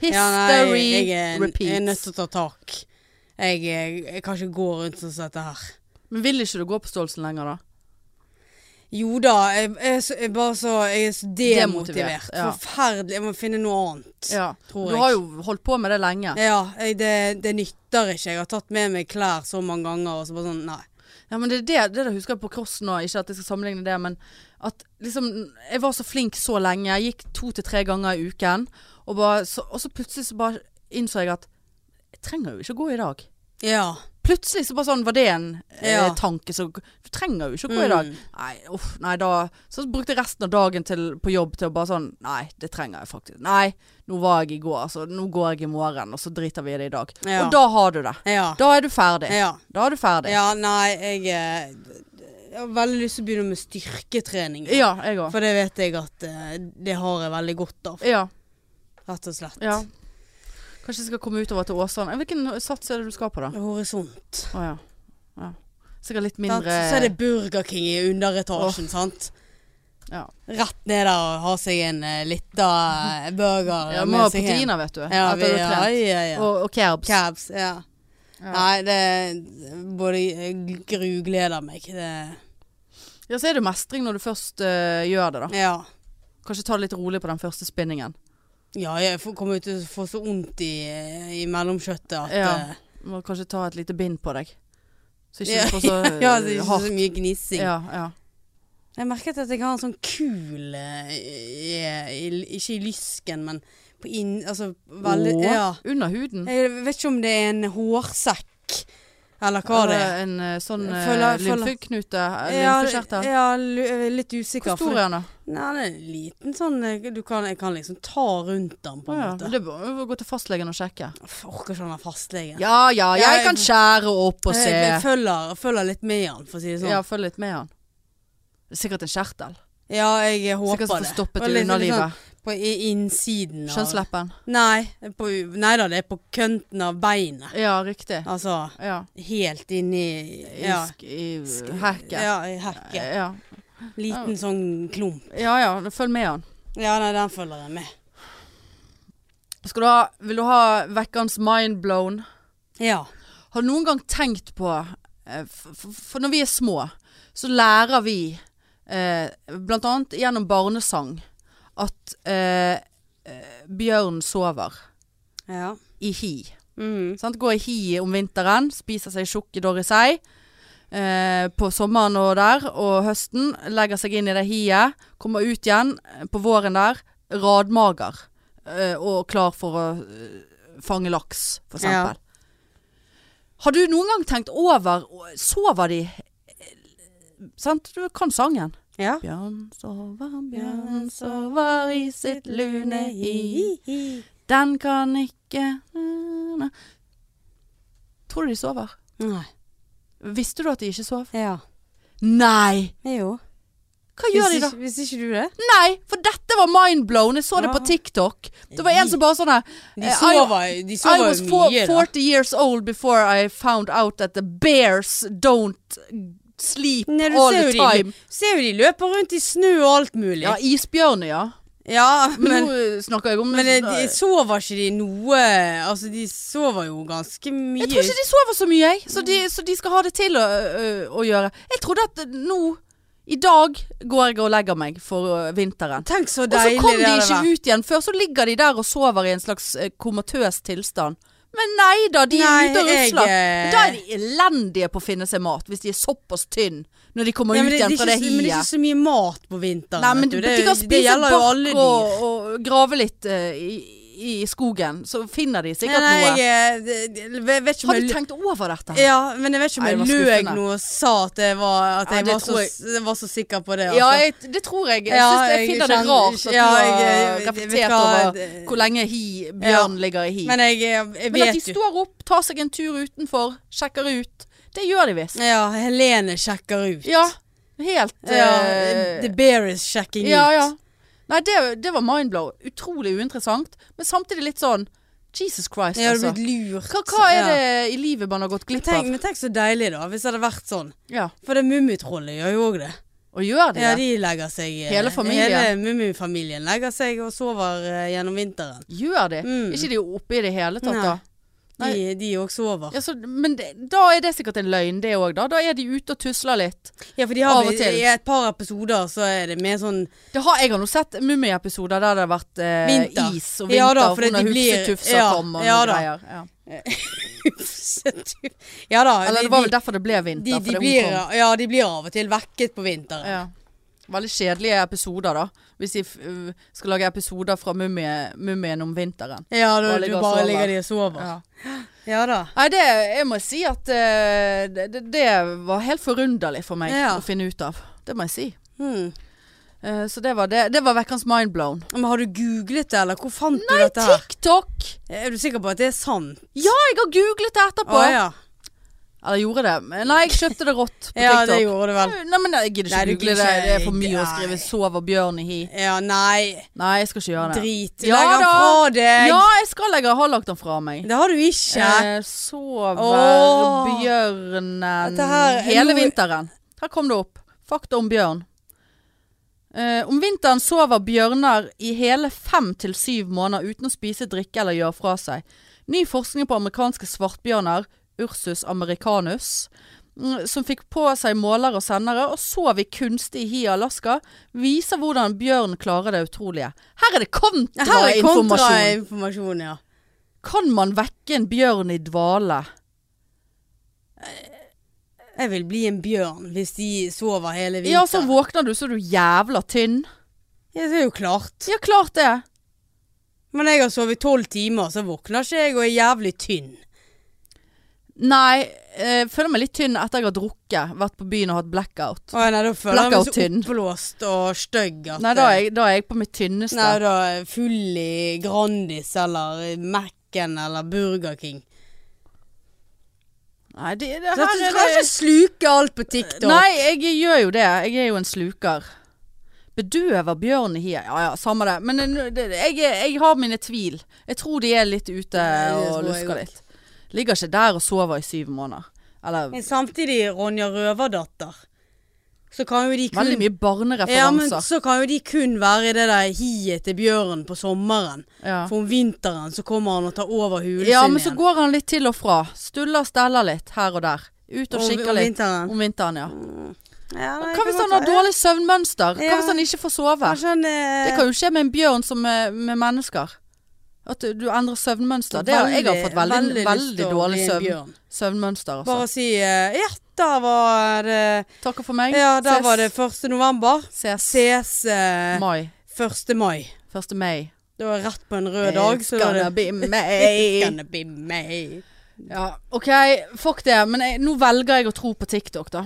S1: History
S2: Ja, nei, jeg er, jeg er nødt
S1: repeats.
S2: til å ta tak. Jeg, jeg, jeg kan ikke gå rundt sånn som dette her.
S1: Men vil ikke du gå på Stolsen lenger, da?
S2: Jo da, jeg, jeg, er så- jeg, er bare så, jeg er så demotivert.
S1: Demotivert, ja.
S2: Forferdelig. Jeg må finne noe annet.
S1: Ja.
S2: tror
S1: Du
S2: jeg.
S1: har jo holdt på med det lenge.
S2: Ja, jeg, det, det nytter ikke. Jeg har tatt med meg klær så mange ganger, og så bare sånn Nei.
S1: Ja, men det er det, det der husker jeg på cross nå, ikke at jeg skal sammenligne det, men at liksom Jeg var så flink så lenge, jeg gikk to til tre ganger i uken, og, bare, så, og så plutselig så bare innså jeg at jeg trenger jo ikke å gå i dag.
S2: Ja.
S1: Plutselig så bare sånn var det en eh,
S2: Ja. Mm.
S1: tanke som Du trenger jo ikke å gå i dag. Nei, uff, nei da Så brukte jeg resten av dagen til, på jobb til å bare sånn Nei, det trenger jeg faktisk. Nei, nå var jeg i går, altså. Nå går jeg i morgen, og så driter vi i det i dag.
S2: Ja.
S1: Og da har du det.
S2: Ja.
S1: Da er du ferdig.
S2: ja.
S1: Da er du ferdig.
S2: Ja, nei, jeg, eh, jeg har veldig lyst til å begynne med styrketrening.
S1: ja jeg òg.
S2: For det vet jeg at eh, det har jeg veldig godt av,
S1: Ja.
S2: rett og slett.
S1: Ja. Kanskje jeg skal komme utover til Åsane. Hvilken sats er det du skal på, da?
S2: Horisont.
S1: Å ja. ja. Sikkert litt
S2: Sant?
S1: mindre
S2: Så er det Burger King i underetasjen, sant.
S1: Ja,
S2: Rett ned der og ha seg en uh, lita eh, burger
S1: ja
S2: eh,
S1: må ha
S2: seg hjem.
S1: proteiner, vet du.
S2: Ja,
S1: etter
S2: vi,
S1: du har
S2: ja,
S1: trent.
S2: ja, ja.
S1: Og, og carbs.
S2: Cabs. Ja.
S1: Ja.
S2: Nei, det både jeg grugleder meg. Det,
S1: Ja, så er det mestring når du først eh, gjør det, da.
S2: ja.
S1: Kanskje ta det litt rolig på den første spinningen.
S2: ja, jeg får- kommer jo til å få så vondt i, i mellomkjøttet at
S1: Ja.
S2: eh,
S1: Må kanskje ta et lite bind på deg. Så ikke
S2: Ja,
S1: du får så eh,
S2: ja, det er ikke
S1: hardt.
S2: så mye gnissing.
S1: Ja, ja.
S2: Jeg merket at jeg har en sånn kul eh, i, i, Ikke i lysken, men på inn... Altså veldig
S1: Å,
S2: Ja.
S1: Under huden.
S2: Jeg vet ikke om det er en hårsekk, eller hva det er.
S1: Eller En eh, sånn uh,
S2: Føler- føler-
S1: lymfeknute. eh,
S2: Ja,
S1: Lymfekjertel.
S2: ja, lu- jeg er litt usikker.
S1: Hvor stor er den, da?
S2: for- Nei, den er en liten sånn eh, du kan, Jeg kan liksom ta rundt den,
S1: Å
S2: på en
S1: ja.
S2: måte.
S1: men Det må gå til fastlegen og sjekke.
S2: Uff, Jeg orker ikke han der fastlegen.
S1: Ja, ja,
S2: Ja,
S1: jeg
S2: jeg-
S1: kan skjære opp og
S2: jeg,
S1: se.
S2: jeg følger, følger litt med han, for å si det sånn.
S1: Ja,
S2: Ja,
S1: følg litt med han. Det er sikkert en kjertel.
S2: jeg håper
S1: Sikkert som
S2: det.
S1: får stoppet
S2: Og
S1: i
S2: litt- litt
S1: underlivet.
S2: Sånn, på i- innsiden
S1: sånn-
S2: av
S1: Kjønnsleppen.
S2: Nei, det er på, nei da, det er på kønten av beinet.
S1: Ja, riktig.
S2: Altså
S1: Ja.
S2: helt inni
S1: I,
S2: ja.
S1: sk- i hekket.
S2: Ja, i hekket.
S1: Ja.
S2: Liten sånn klump.
S1: ja ja, følg med han.
S2: Ja, nei, den følger jeg med.
S1: Skal du ha, vil du ha vekkerens mindblown?
S2: Ja.
S1: Har du noen gang tenkt på eh, f- f- For når vi er små, så lærer vi eh, Blant annet gjennom barnesang at eh, eh, bjørn sover
S2: ja.
S1: i hi.
S2: Mm.
S1: Sant? Går i hi om vinteren, spiser seg tjukk i dorr i sei. Eh, på sommeren og der, og høsten. Legger seg inn i det hiet. Kommer ut igjen eh, på våren der, radmager. Eh, og klar for å eh, fange laks, for
S2: Ja.
S1: eksempel. Har du noen gang tenkt over Sover de eh, Sant? Du kan sangen.
S2: ja.
S1: Bjørn sover, bjørn sover i sitt lune hi.
S2: hi.
S1: Den kan ikke na. Tror du de sover?
S2: Nei.
S1: Visste du at de ikke sov?
S2: Ja.
S1: Nei!
S2: Jo.
S1: Hva
S2: Hvis
S1: gjør de da?
S2: ikke, hvis ikke du det?
S1: Nei, for dette var mindblown. Jeg så det på
S2: Ja.
S1: TikTok. Det var en som bare sånn her
S2: De
S1: eh,
S2: sover,
S1: I,
S2: de
S1: I
S2: sover
S1: was
S2: jo
S1: fo-
S2: mye, da.
S1: 40 years old before I found out that the bears don't sleep
S2: Nei, du
S1: all
S2: ser
S1: the
S2: jo, de,
S1: time.
S2: ser jo de løper rundt i snø og alt mulig.
S1: Ja, isbjørner, ja.
S2: Ja,
S1: Men,
S2: men,
S1: nå eh, snakker jeg om
S2: men eh, de, de sover ikke de noe Altså, de sover jo ganske mye.
S1: Jeg tror ikke de sover så mye, jeg. Så de, så de skal ha det til å, ø, å gjøre. Jeg trodde at nå, i dag, går jeg og legger meg for ø, vinteren.
S2: Tenk så
S1: Og så
S2: deilig
S1: kom de
S2: det hadde
S1: ikke
S2: vært.
S1: ut igjen før, så ligger de der og sover i en slags ø, komatøs tilstand. Men nei da, de er
S2: Nei,
S1: ute og
S2: jeg,
S1: rusler.
S2: eh,
S1: Da er de elendige på å finne seg mat, hvis de er såpass tynne når de kommer
S2: Ja,
S1: ut
S2: men det, det
S1: igjen
S2: er
S1: fra det
S2: ikke, så- men det er
S1: hiet.
S2: ikke så mye mat på vinteren.
S1: Nei, men
S2: vet
S1: du,
S2: du. Det,
S1: de kan
S2: det
S1: spise
S2: gjelder jo
S1: bark
S2: alle dyr.
S1: og, og grave litt ø, i, i skogen, så finner de
S2: Nei,
S1: sikkert
S2: nei,
S1: noe.
S2: jeg eh, d- d- vet ikke om
S1: Har de
S2: jeg
S1: tenkt over dette? her?
S2: Ja, men jeg vet ikke om
S1: Nei,
S2: jeg
S1: det var
S2: løy
S1: skuffende.
S2: noe og sa at jeg var, at
S1: Ja,
S2: jeg
S1: det
S2: var, så,
S1: tror jeg.
S2: jeg var så sikker på det.
S1: Ja,
S2: altså.
S1: jeg, det tror jeg. Jeg,
S2: Ja,
S1: synes jeg
S2: jeg
S1: finner det
S2: kjenner-
S1: rart at
S2: ja,
S1: du har
S2: jeg- jeg- vet
S1: reflektert
S2: hva,
S1: over
S2: det-
S1: hvor lenge hi, bjørn ligger i hi. Men,
S2: Men jeg, jeg, jeg
S1: at de
S2: vet jo
S1: står opp, tar seg en tur utenfor, sjekker ut. Det gjør de visst.
S2: Ja, Helene sjekker ut.
S1: Ja, helt
S2: Ja,
S1: eh,
S2: the bear is checking
S1: ja,
S2: ut.
S1: ja. Nei, det, det var mindblow. Utrolig uinteressant, men samtidig litt sånn Jesus Christ,
S2: Jeg hadde
S1: altså.
S2: blitt lurt.
S1: Hva, hva er
S2: Ja.
S1: det i livet man har gått
S2: Men
S1: glipp
S2: tenk,
S1: av?
S2: men tenk så deilig, da, hvis det hadde vært sånn.
S1: Ja,
S2: For det mummitrollet gjør jo òg det.
S1: Og gjør de
S2: Ja,
S1: det?
S2: de legger seg eh,
S1: Hele familien.
S2: Hele mummifamilien legger seg og sover eh, gjennom vinteren.
S1: Gjør de?
S2: Mm.
S1: Ikke de oppe i det hele tatt,
S2: Nei.
S1: da? Nei.
S2: De, de også sover.
S1: Ja, så, men det, da er det sikkert en løgn, det òg, da. Da er de ute og tusler litt.
S2: Ja, for de har
S1: Av og
S2: blitt-
S1: til.
S2: I et par episoder så er det mer sånn
S1: Det har, jeg har nå sett mummiepisoder der det har vært eh,
S2: Vinter.
S1: is og vinter,
S2: Ja da,
S1: og
S2: fordi
S1: hvordan
S2: de blir-
S1: hufsetufser
S2: ja,
S1: kom og
S2: ja
S1: noe
S2: da.
S1: greier. Ja.
S2: Ja da.
S1: Eller
S2: de-
S1: det var vel derfor det ble vinter.
S2: de, de,
S1: fordi hun
S2: blir,
S1: kom.
S2: ja, de blir av og til vekket på vinteren.
S1: ja. Veldig kjedelige episoder, da. Hvis de f- øh, skal lage episoder fra mumie- mumien om vinteren.
S2: Ja, da,
S1: Bare
S2: du
S1: ligger og
S2: bare
S1: sover.
S2: ligger de og sover. Ja,
S1: Ja.
S2: da.
S1: Nei, det, jeg må si at eh, det, det- det var helt forunderlig for meg
S2: Ja.
S1: å finne ut av. Det må jeg si.
S2: Hmm.
S1: Eh, så det var det. Det var vekkens mindblown.
S2: Men har du googlet det, eller hvor fant du dette her?
S1: TikTok!
S2: Er du sikker på at det er sant?
S1: Ja, jeg har googlet det etterpå.
S2: Å ja.
S1: Eller gjorde det. Men Nei, jeg kjøpte det rått på
S2: ja,
S1: TikTok.
S2: det gjorde du vel.
S1: Nei, men jeg gidder
S2: Nei,
S1: ikke
S2: du
S1: google
S2: gidder
S1: det.
S2: ikke.
S1: Det er for mye å
S2: Nei.
S1: skrive 'sover bjørn i hi'.
S2: Ja, nei.
S1: Nei, jeg skal ikke gjøre det.
S2: Drit.
S1: Ja
S2: Legg den
S1: da.
S2: fra deg.
S1: Ja, jeg skal legge har lagt den fra meg.
S2: Det har du ikke.
S1: Eh, sover
S2: Åh.
S1: bjørnen
S2: Dette her er
S1: hele
S2: noe-
S1: vinteren. Her kom det opp. Fakta om bjørn. Eh, om vinteren sover bjørner i hele fem til syv måneder uten å spise, drikke eller gjøre fra seg. Ny forskning på amerikanske svartbjørner, Ursus americanus, mm, som fikk på seg målere og sendere og sov i kunstig hi i Alaska, viser hvordan bjørn klarer det utrolige. Her er det
S2: Her er
S1: kontrainformasjon!
S2: kontrainformasjon, ja.
S1: Kan man vekke en bjørn i dvale?
S2: Jeg vil bli en bjørn hvis de sover hele
S1: Ja, så
S2: vinteren.
S1: våkner du så er du jævla tynn.
S2: Ja, det er jo klart.
S1: Ja, klart det.
S2: Men jeg har sovet tolv timer, så våkner ikke jeg og er jævlig tynn.
S1: Nei, eh, jeg føler meg litt tynn etter jeg har drukket, vært på byen og hatt blackout.
S2: Å, nei, da føler jeg meg så
S1: Blackout-tynn.
S2: oppblåst og stygg at
S1: Nei, da er jeg, da er jeg på mitt tynneste.
S2: Nei, da er jeg full i Grandis eller Mac-en eller Burger King.
S1: Nei, det, det,
S2: Så
S1: her
S2: du
S1: er
S2: skal ikke
S1: det.
S2: sluke alt på TikTok.
S1: Nei, jeg gjør jo det. Jeg er jo en sluker. Bedøver bjørn i hiet. Ja ja, samme det. Men eh, det, jeg, er- jeg har mine tvil. Jeg tror de er litt ute
S2: Nei, det
S1: og
S2: tror jeg også.
S1: lusker litt. Ligger ikke der og sover i syv måneder. Eller
S2: Men samtidig, Ronja Røverdatter, så kan jo de kun
S1: veldig mye barnereferanser.
S2: Ja, men så kan jo de kun være i det der hiet til bjørnen på sommeren.
S1: Ja.
S2: For om vinteren så kommer han og tar over hulen
S1: Ja,
S2: sin
S1: men så
S2: igjen.
S1: går han litt til og fra. Stuller og steller litt her og der. Ut og
S2: Om-
S1: kikker
S2: om
S1: litt.
S2: vinteren.
S1: Om vinteren, ja.
S2: Ja, nei,
S1: Hva hvis
S2: kan
S1: han har
S2: godt være.
S1: dårlig søvnmønster? Hva
S2: Ja.
S1: hvis han ikke får sove?
S2: Kanskje han eh,
S1: Det kan jo skje med en bjørn som med, med mennesker. At du, du endrer søvnmønster. Det har, jeg har fått veldig, veldig,
S2: lyst til å
S1: dårlig
S2: bli en
S1: søvn,
S2: bjørn.
S1: søvnmønster.
S2: Bare
S1: Altså.
S2: si eh, Ja, der var det
S1: Takk for meg.
S2: Ja, der
S1: Ses.
S2: var det 1. november.
S1: Ses.
S2: Ses eh,
S1: Mai.
S2: 1. mai.
S1: 1. mai.
S2: Det var rett på en rød dag. Så
S1: It's
S2: var
S1: gonna
S2: det
S1: be
S2: It's
S1: May.
S2: gonna be May.
S1: Ja, ok, fuck det. Men jeg, nå velger jeg å tro på TikTok, da.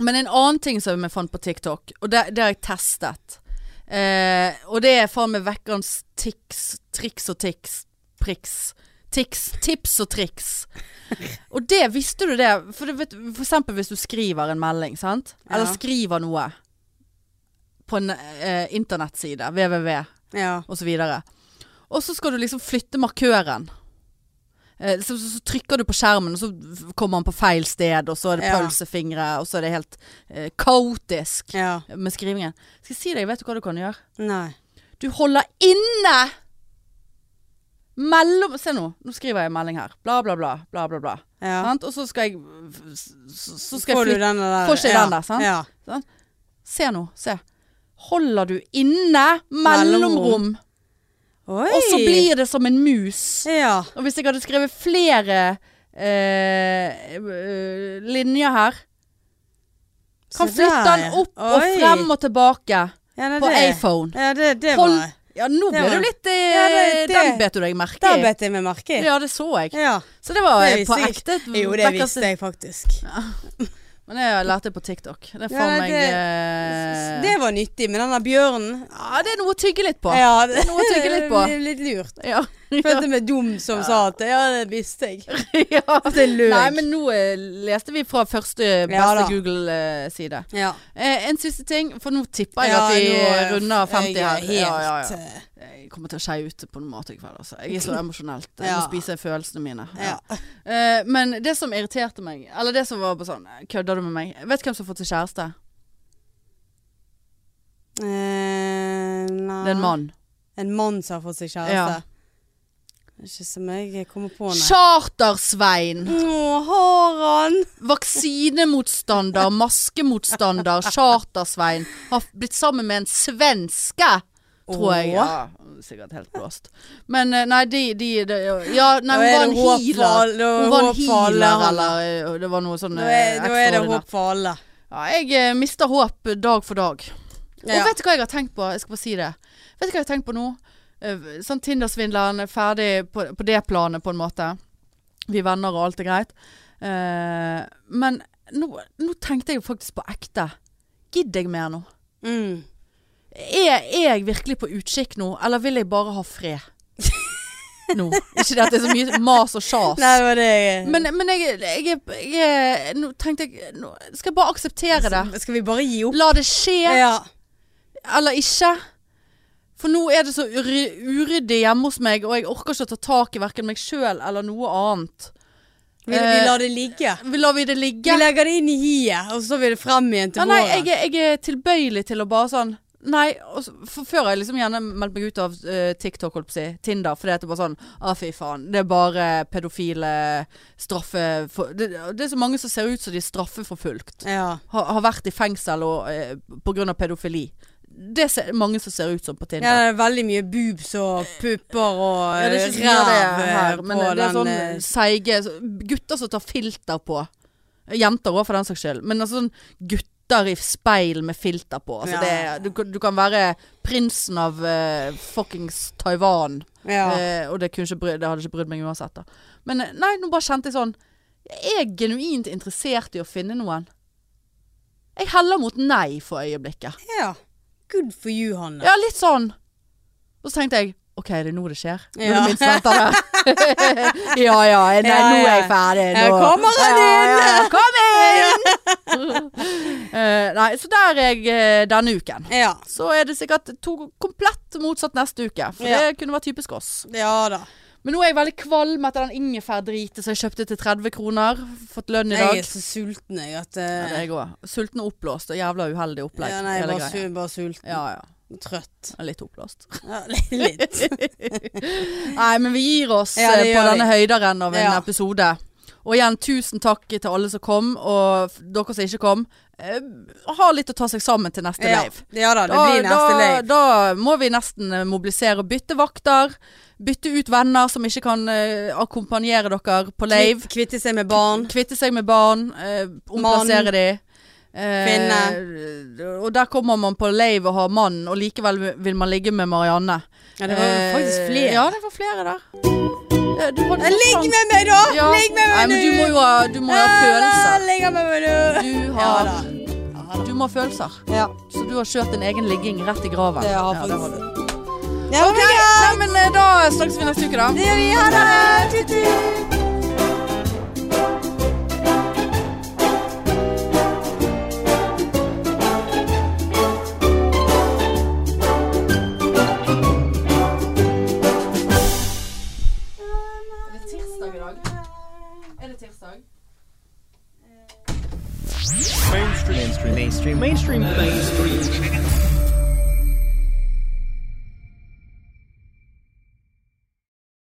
S1: Men en annen ting som jeg fant på TikTok, og det, det har jeg testet. Eh, og det er faen meg vekkerens tics, triks og tics, priks. Tics, tips og triks. Og det visste du det. For, det vet, for eksempel hvis du skriver en melding, sant? Eller
S2: Ja.
S1: skriver noe på en eh, internettside, www
S2: Ja.
S1: og så videre. Og så skal du liksom flytte markøren. Eh, Så, så, så trykker du på skjermen, og så f- kommer han på feil sted, og så er det
S2: Ja.
S1: pølsefingre, og så er det helt eh, kaotisk
S2: ja.
S1: med skrivingen. Skal jeg si deg, vet du hva du kan gjøre?
S2: Nei.
S1: Du holder inne mellom Se nå, nå skriver jeg en melding her. Bla, bla, bla. bla, bla, bla.
S2: Ja.
S1: Sant? Og så skal jeg Så, så skal
S2: Får
S1: jeg
S2: du
S1: flytte
S2: den der?
S1: Får ikke
S2: ja.
S1: den der, sant?
S2: Ja.
S1: Se nå, se. Holder du inne
S2: Mellomrom.
S1: mellomrom,
S2: Oi.
S1: og så blir det som en mus.
S2: Ja.
S1: Og hvis jeg hadde skrevet flere eh, eh, linjer her Kan
S2: Se
S1: flytte
S2: der,
S1: den
S2: ja.
S1: opp og
S2: Oi.
S1: frem og tilbake
S2: Ja, nei,
S1: på
S2: det-
S1: iPhone.
S2: Ja, det, det var
S1: Hold
S2: det.
S1: Ja, nå
S2: Det
S1: ble
S2: var-
S1: du litt eh,
S2: Ja, det- det-
S1: Den bet du deg merke
S2: Der
S1: i.
S2: bet jeg meg merke i.
S1: Ja, det så jeg.
S2: Ja.
S1: Så det var
S2: Det
S1: eh, på
S2: visste jeg
S1: ekte. et
S2: Jo, det
S1: vekkers-
S2: visste jeg faktisk.
S1: Men jeg lærte det på TikTok. Det får
S2: nei,
S1: meg
S2: det-
S1: eh,
S2: Det var nyttig, men den der bjørnen
S1: Ja, det er noe å tygge litt på.
S2: Ja,
S1: Det er noe å tygge litt på.
S2: det er litt lurt.
S1: Ja. ja.
S2: Følte meg dum som sa at ja, det visste jeg.
S1: ja.
S2: At jeg løy.
S1: Nei, men nå eh, leste vi fra første
S2: Ja
S1: beste
S2: da.
S1: Google-side.
S2: ja.
S1: Eh, en siste ting, for nå tipper jeg at vi eh, runder 50 her.
S2: Jeg
S1: Ja, ja, ja.
S2: er helt eh,
S1: Jeg kommer til å skeie ut på noe mat i kveld. Altså. Jeg er så emosjonelt. Jeg
S2: Ja.
S1: må spise følelsene mine.
S2: eh, ja.
S1: Eh, men det som irriterte meg, eller det som var på sånn Kødder du med meg? Vet du hvem som har fått seg kjæreste?
S2: Eh, nei.
S1: Det er en mann.
S2: En mann som har fått seg
S1: Ja.
S2: kjæreste. Ikke som jeg kommer på, nei.
S1: Charter-Svein!
S2: Å, har han?
S1: Vaksinemotstander, maskemotstander, Charter-Svein har blitt sammen med en svenske. Tror jeg.
S2: Åh.
S1: Ja, sikkert helt blåst. Men eh, nei, de, de, de Ja, nei,
S2: Da er
S1: hun var en
S2: det håp for
S1: healer.
S2: alle- da
S1: Hun
S2: er
S1: var en
S2: håp for
S1: healer,
S2: alle, han.
S1: eller eh, det var noe sånn
S2: Da
S1: eh,
S2: er, da er det
S1: ekstraordinært.
S2: håp for alle.
S1: Ja, jeg eh, mister håp dag for dag.
S2: Ja.
S1: Og vet du hva jeg har tenkt på? Jeg skal bare si det. Vet du hva jeg har tenkt på nå? Eh, Sånn Tinder-svindleren er ferdig på, på det planet, på en måte. Vi er venner og alt er greit. Eh, men nå, nå tenkte jeg faktisk på ekte. Gidder jeg mer nå?
S2: Mm.
S1: Er, er jeg virkelig på utkikk nå, eller vil jeg bare ha fred? nå. Ikke det at det er så mye mas og sjas.
S2: Nei, det var det
S1: Men, men jeg, jeg, er- jeg, er- Nå tenkte jeg Nå skal jeg bare akseptere det.
S2: Skal vi bare gi opp?
S1: La det skje.
S2: Ja.
S1: Eller ikke. For nå er det så ury- uryddig hjemme hos meg, og jeg orker ikke å ta tak i verken meg sjøl eller noe annet.
S2: Vi,
S1: Eh,
S2: vi lar det ligge.
S1: Vi lar vi det
S2: Vi
S1: ligge?
S2: legger det inn i hiet, og så tar vi det frem igjen til
S1: Ja, nei,
S2: våren.
S1: jeg, er- jeg er tilbøyelig til å bare sånn Nei, og så- for før har jeg liksom gjerne meldt meg ut av eh, TikTok, holdt på å si, Tinder, fordi at det er bare sånn Å, fy faen. Det er bare pedofile straffe... For, det, det er så mange som ser ut som de er straffeforfulgt.
S2: Ja.
S1: Har, har vært i fengsel og, eh, på grunn av pedofili. Det er mange som ser ut som på Tinder.
S2: Ja, det er veldig mye boobs og pupper og eh,
S1: Ja, det er ikke så mye av
S2: ræv
S1: det her, men
S2: på
S1: det er
S2: den
S1: sånn
S2: eh,
S1: seige så- Gutter som tar filter på. Jenter òg, for den saks skyld. Men altså sånn gutter i speil med filter på. Altså
S2: Ja.
S1: det, du, kan- du kan være prinsen av eh, fuckings Taiwan,
S2: ja.
S1: eh, og det, kunne ikke bry, det hadde ikke brydd meg uansett. da Men eh, nei, nå bare kjente jeg sånn Jeg er genuint interessert i å finne noen. Jeg heller mot nei for øyeblikket.
S2: ja. Good for you, Hanne.
S1: Ja, litt sånn. Og så tenkte jeg OK, det er nå det skjer. Nå er
S2: Ja.
S1: det mitt senter der. ja ja, nei,
S2: Ja,
S1: nå er jeg
S2: ja.
S1: ferdig. Nå.
S2: Her kommer han inn!
S1: Ja, ja, kom inn! Eh, nei, så der er jeg eh, denne uken.
S2: Ja.
S1: Så er det sikkert to komplett motsatt neste uke, for
S2: Ja.
S1: det kunne vært typisk oss.
S2: ja da.
S1: Men nå er jeg veldig kvalm etter den ingefærdriten som jeg kjøpte til 30 kroner. Fått lønn i
S2: Jeg
S1: dag.
S2: er så sulten, jeg, at
S1: Ja, det er
S2: eh,
S1: jeg òg. Sulten og oppblåst og jævla uheldig opplegg.
S2: ja, nei, jeg er
S1: hele greia.
S2: bare, su bare sulten.
S1: ja, ja.
S2: Trøtt.
S1: Litt oppblåst.
S2: Ja, litt.
S1: Nei, men vi gir oss
S2: Ja, det
S1: eh, på
S2: gjør vi.
S1: denne høyderen av en
S2: Ja.
S1: episode. Og igjen, tusen takk til alle som kom, og f- dere som ikke kom. Eh, ha litt å ta seg sammen til neste
S2: Ja.
S1: live.
S2: ja da, det
S1: Da,
S2: blir neste
S1: da,
S2: live.
S1: da må vi nesten eh, mobilisere. Bytte vakter. Bytte ut venner som ikke kan eh, akkompagnere dere på
S2: Kvitt-
S1: lave.
S2: Kvitte seg med barn.
S1: Kvitte seg med barn. Eh, omplassere de. Eh, Og der kommer man på lave og har mann, og likevel vil man ligge med Marianne.
S2: Ja, det var faktisk
S1: Eh,
S2: flere.
S1: Ja, det var flere der. Eh, Du hadde
S2: Ligg
S1: sånn-
S2: med meg, da!
S1: Ja.
S2: Ligg med
S1: Nei,
S2: meg
S1: men du må jo
S2: nå!
S1: ha, du må ha følelser.
S2: Ligg med meg nå!
S1: Du
S2: Ja
S1: har,
S2: da. Ja da.
S1: du må ha følelser.
S2: Ja,
S1: Så du har kjørt din egen ligging rett i graven.
S2: det har
S1: Ja, det har
S2: faktisk
S1: du.
S2: Ja, ok,
S1: Nei, men eh, da snakkes vi neste uke, da.
S2: det gjør vi. Ha det! Tut, tut.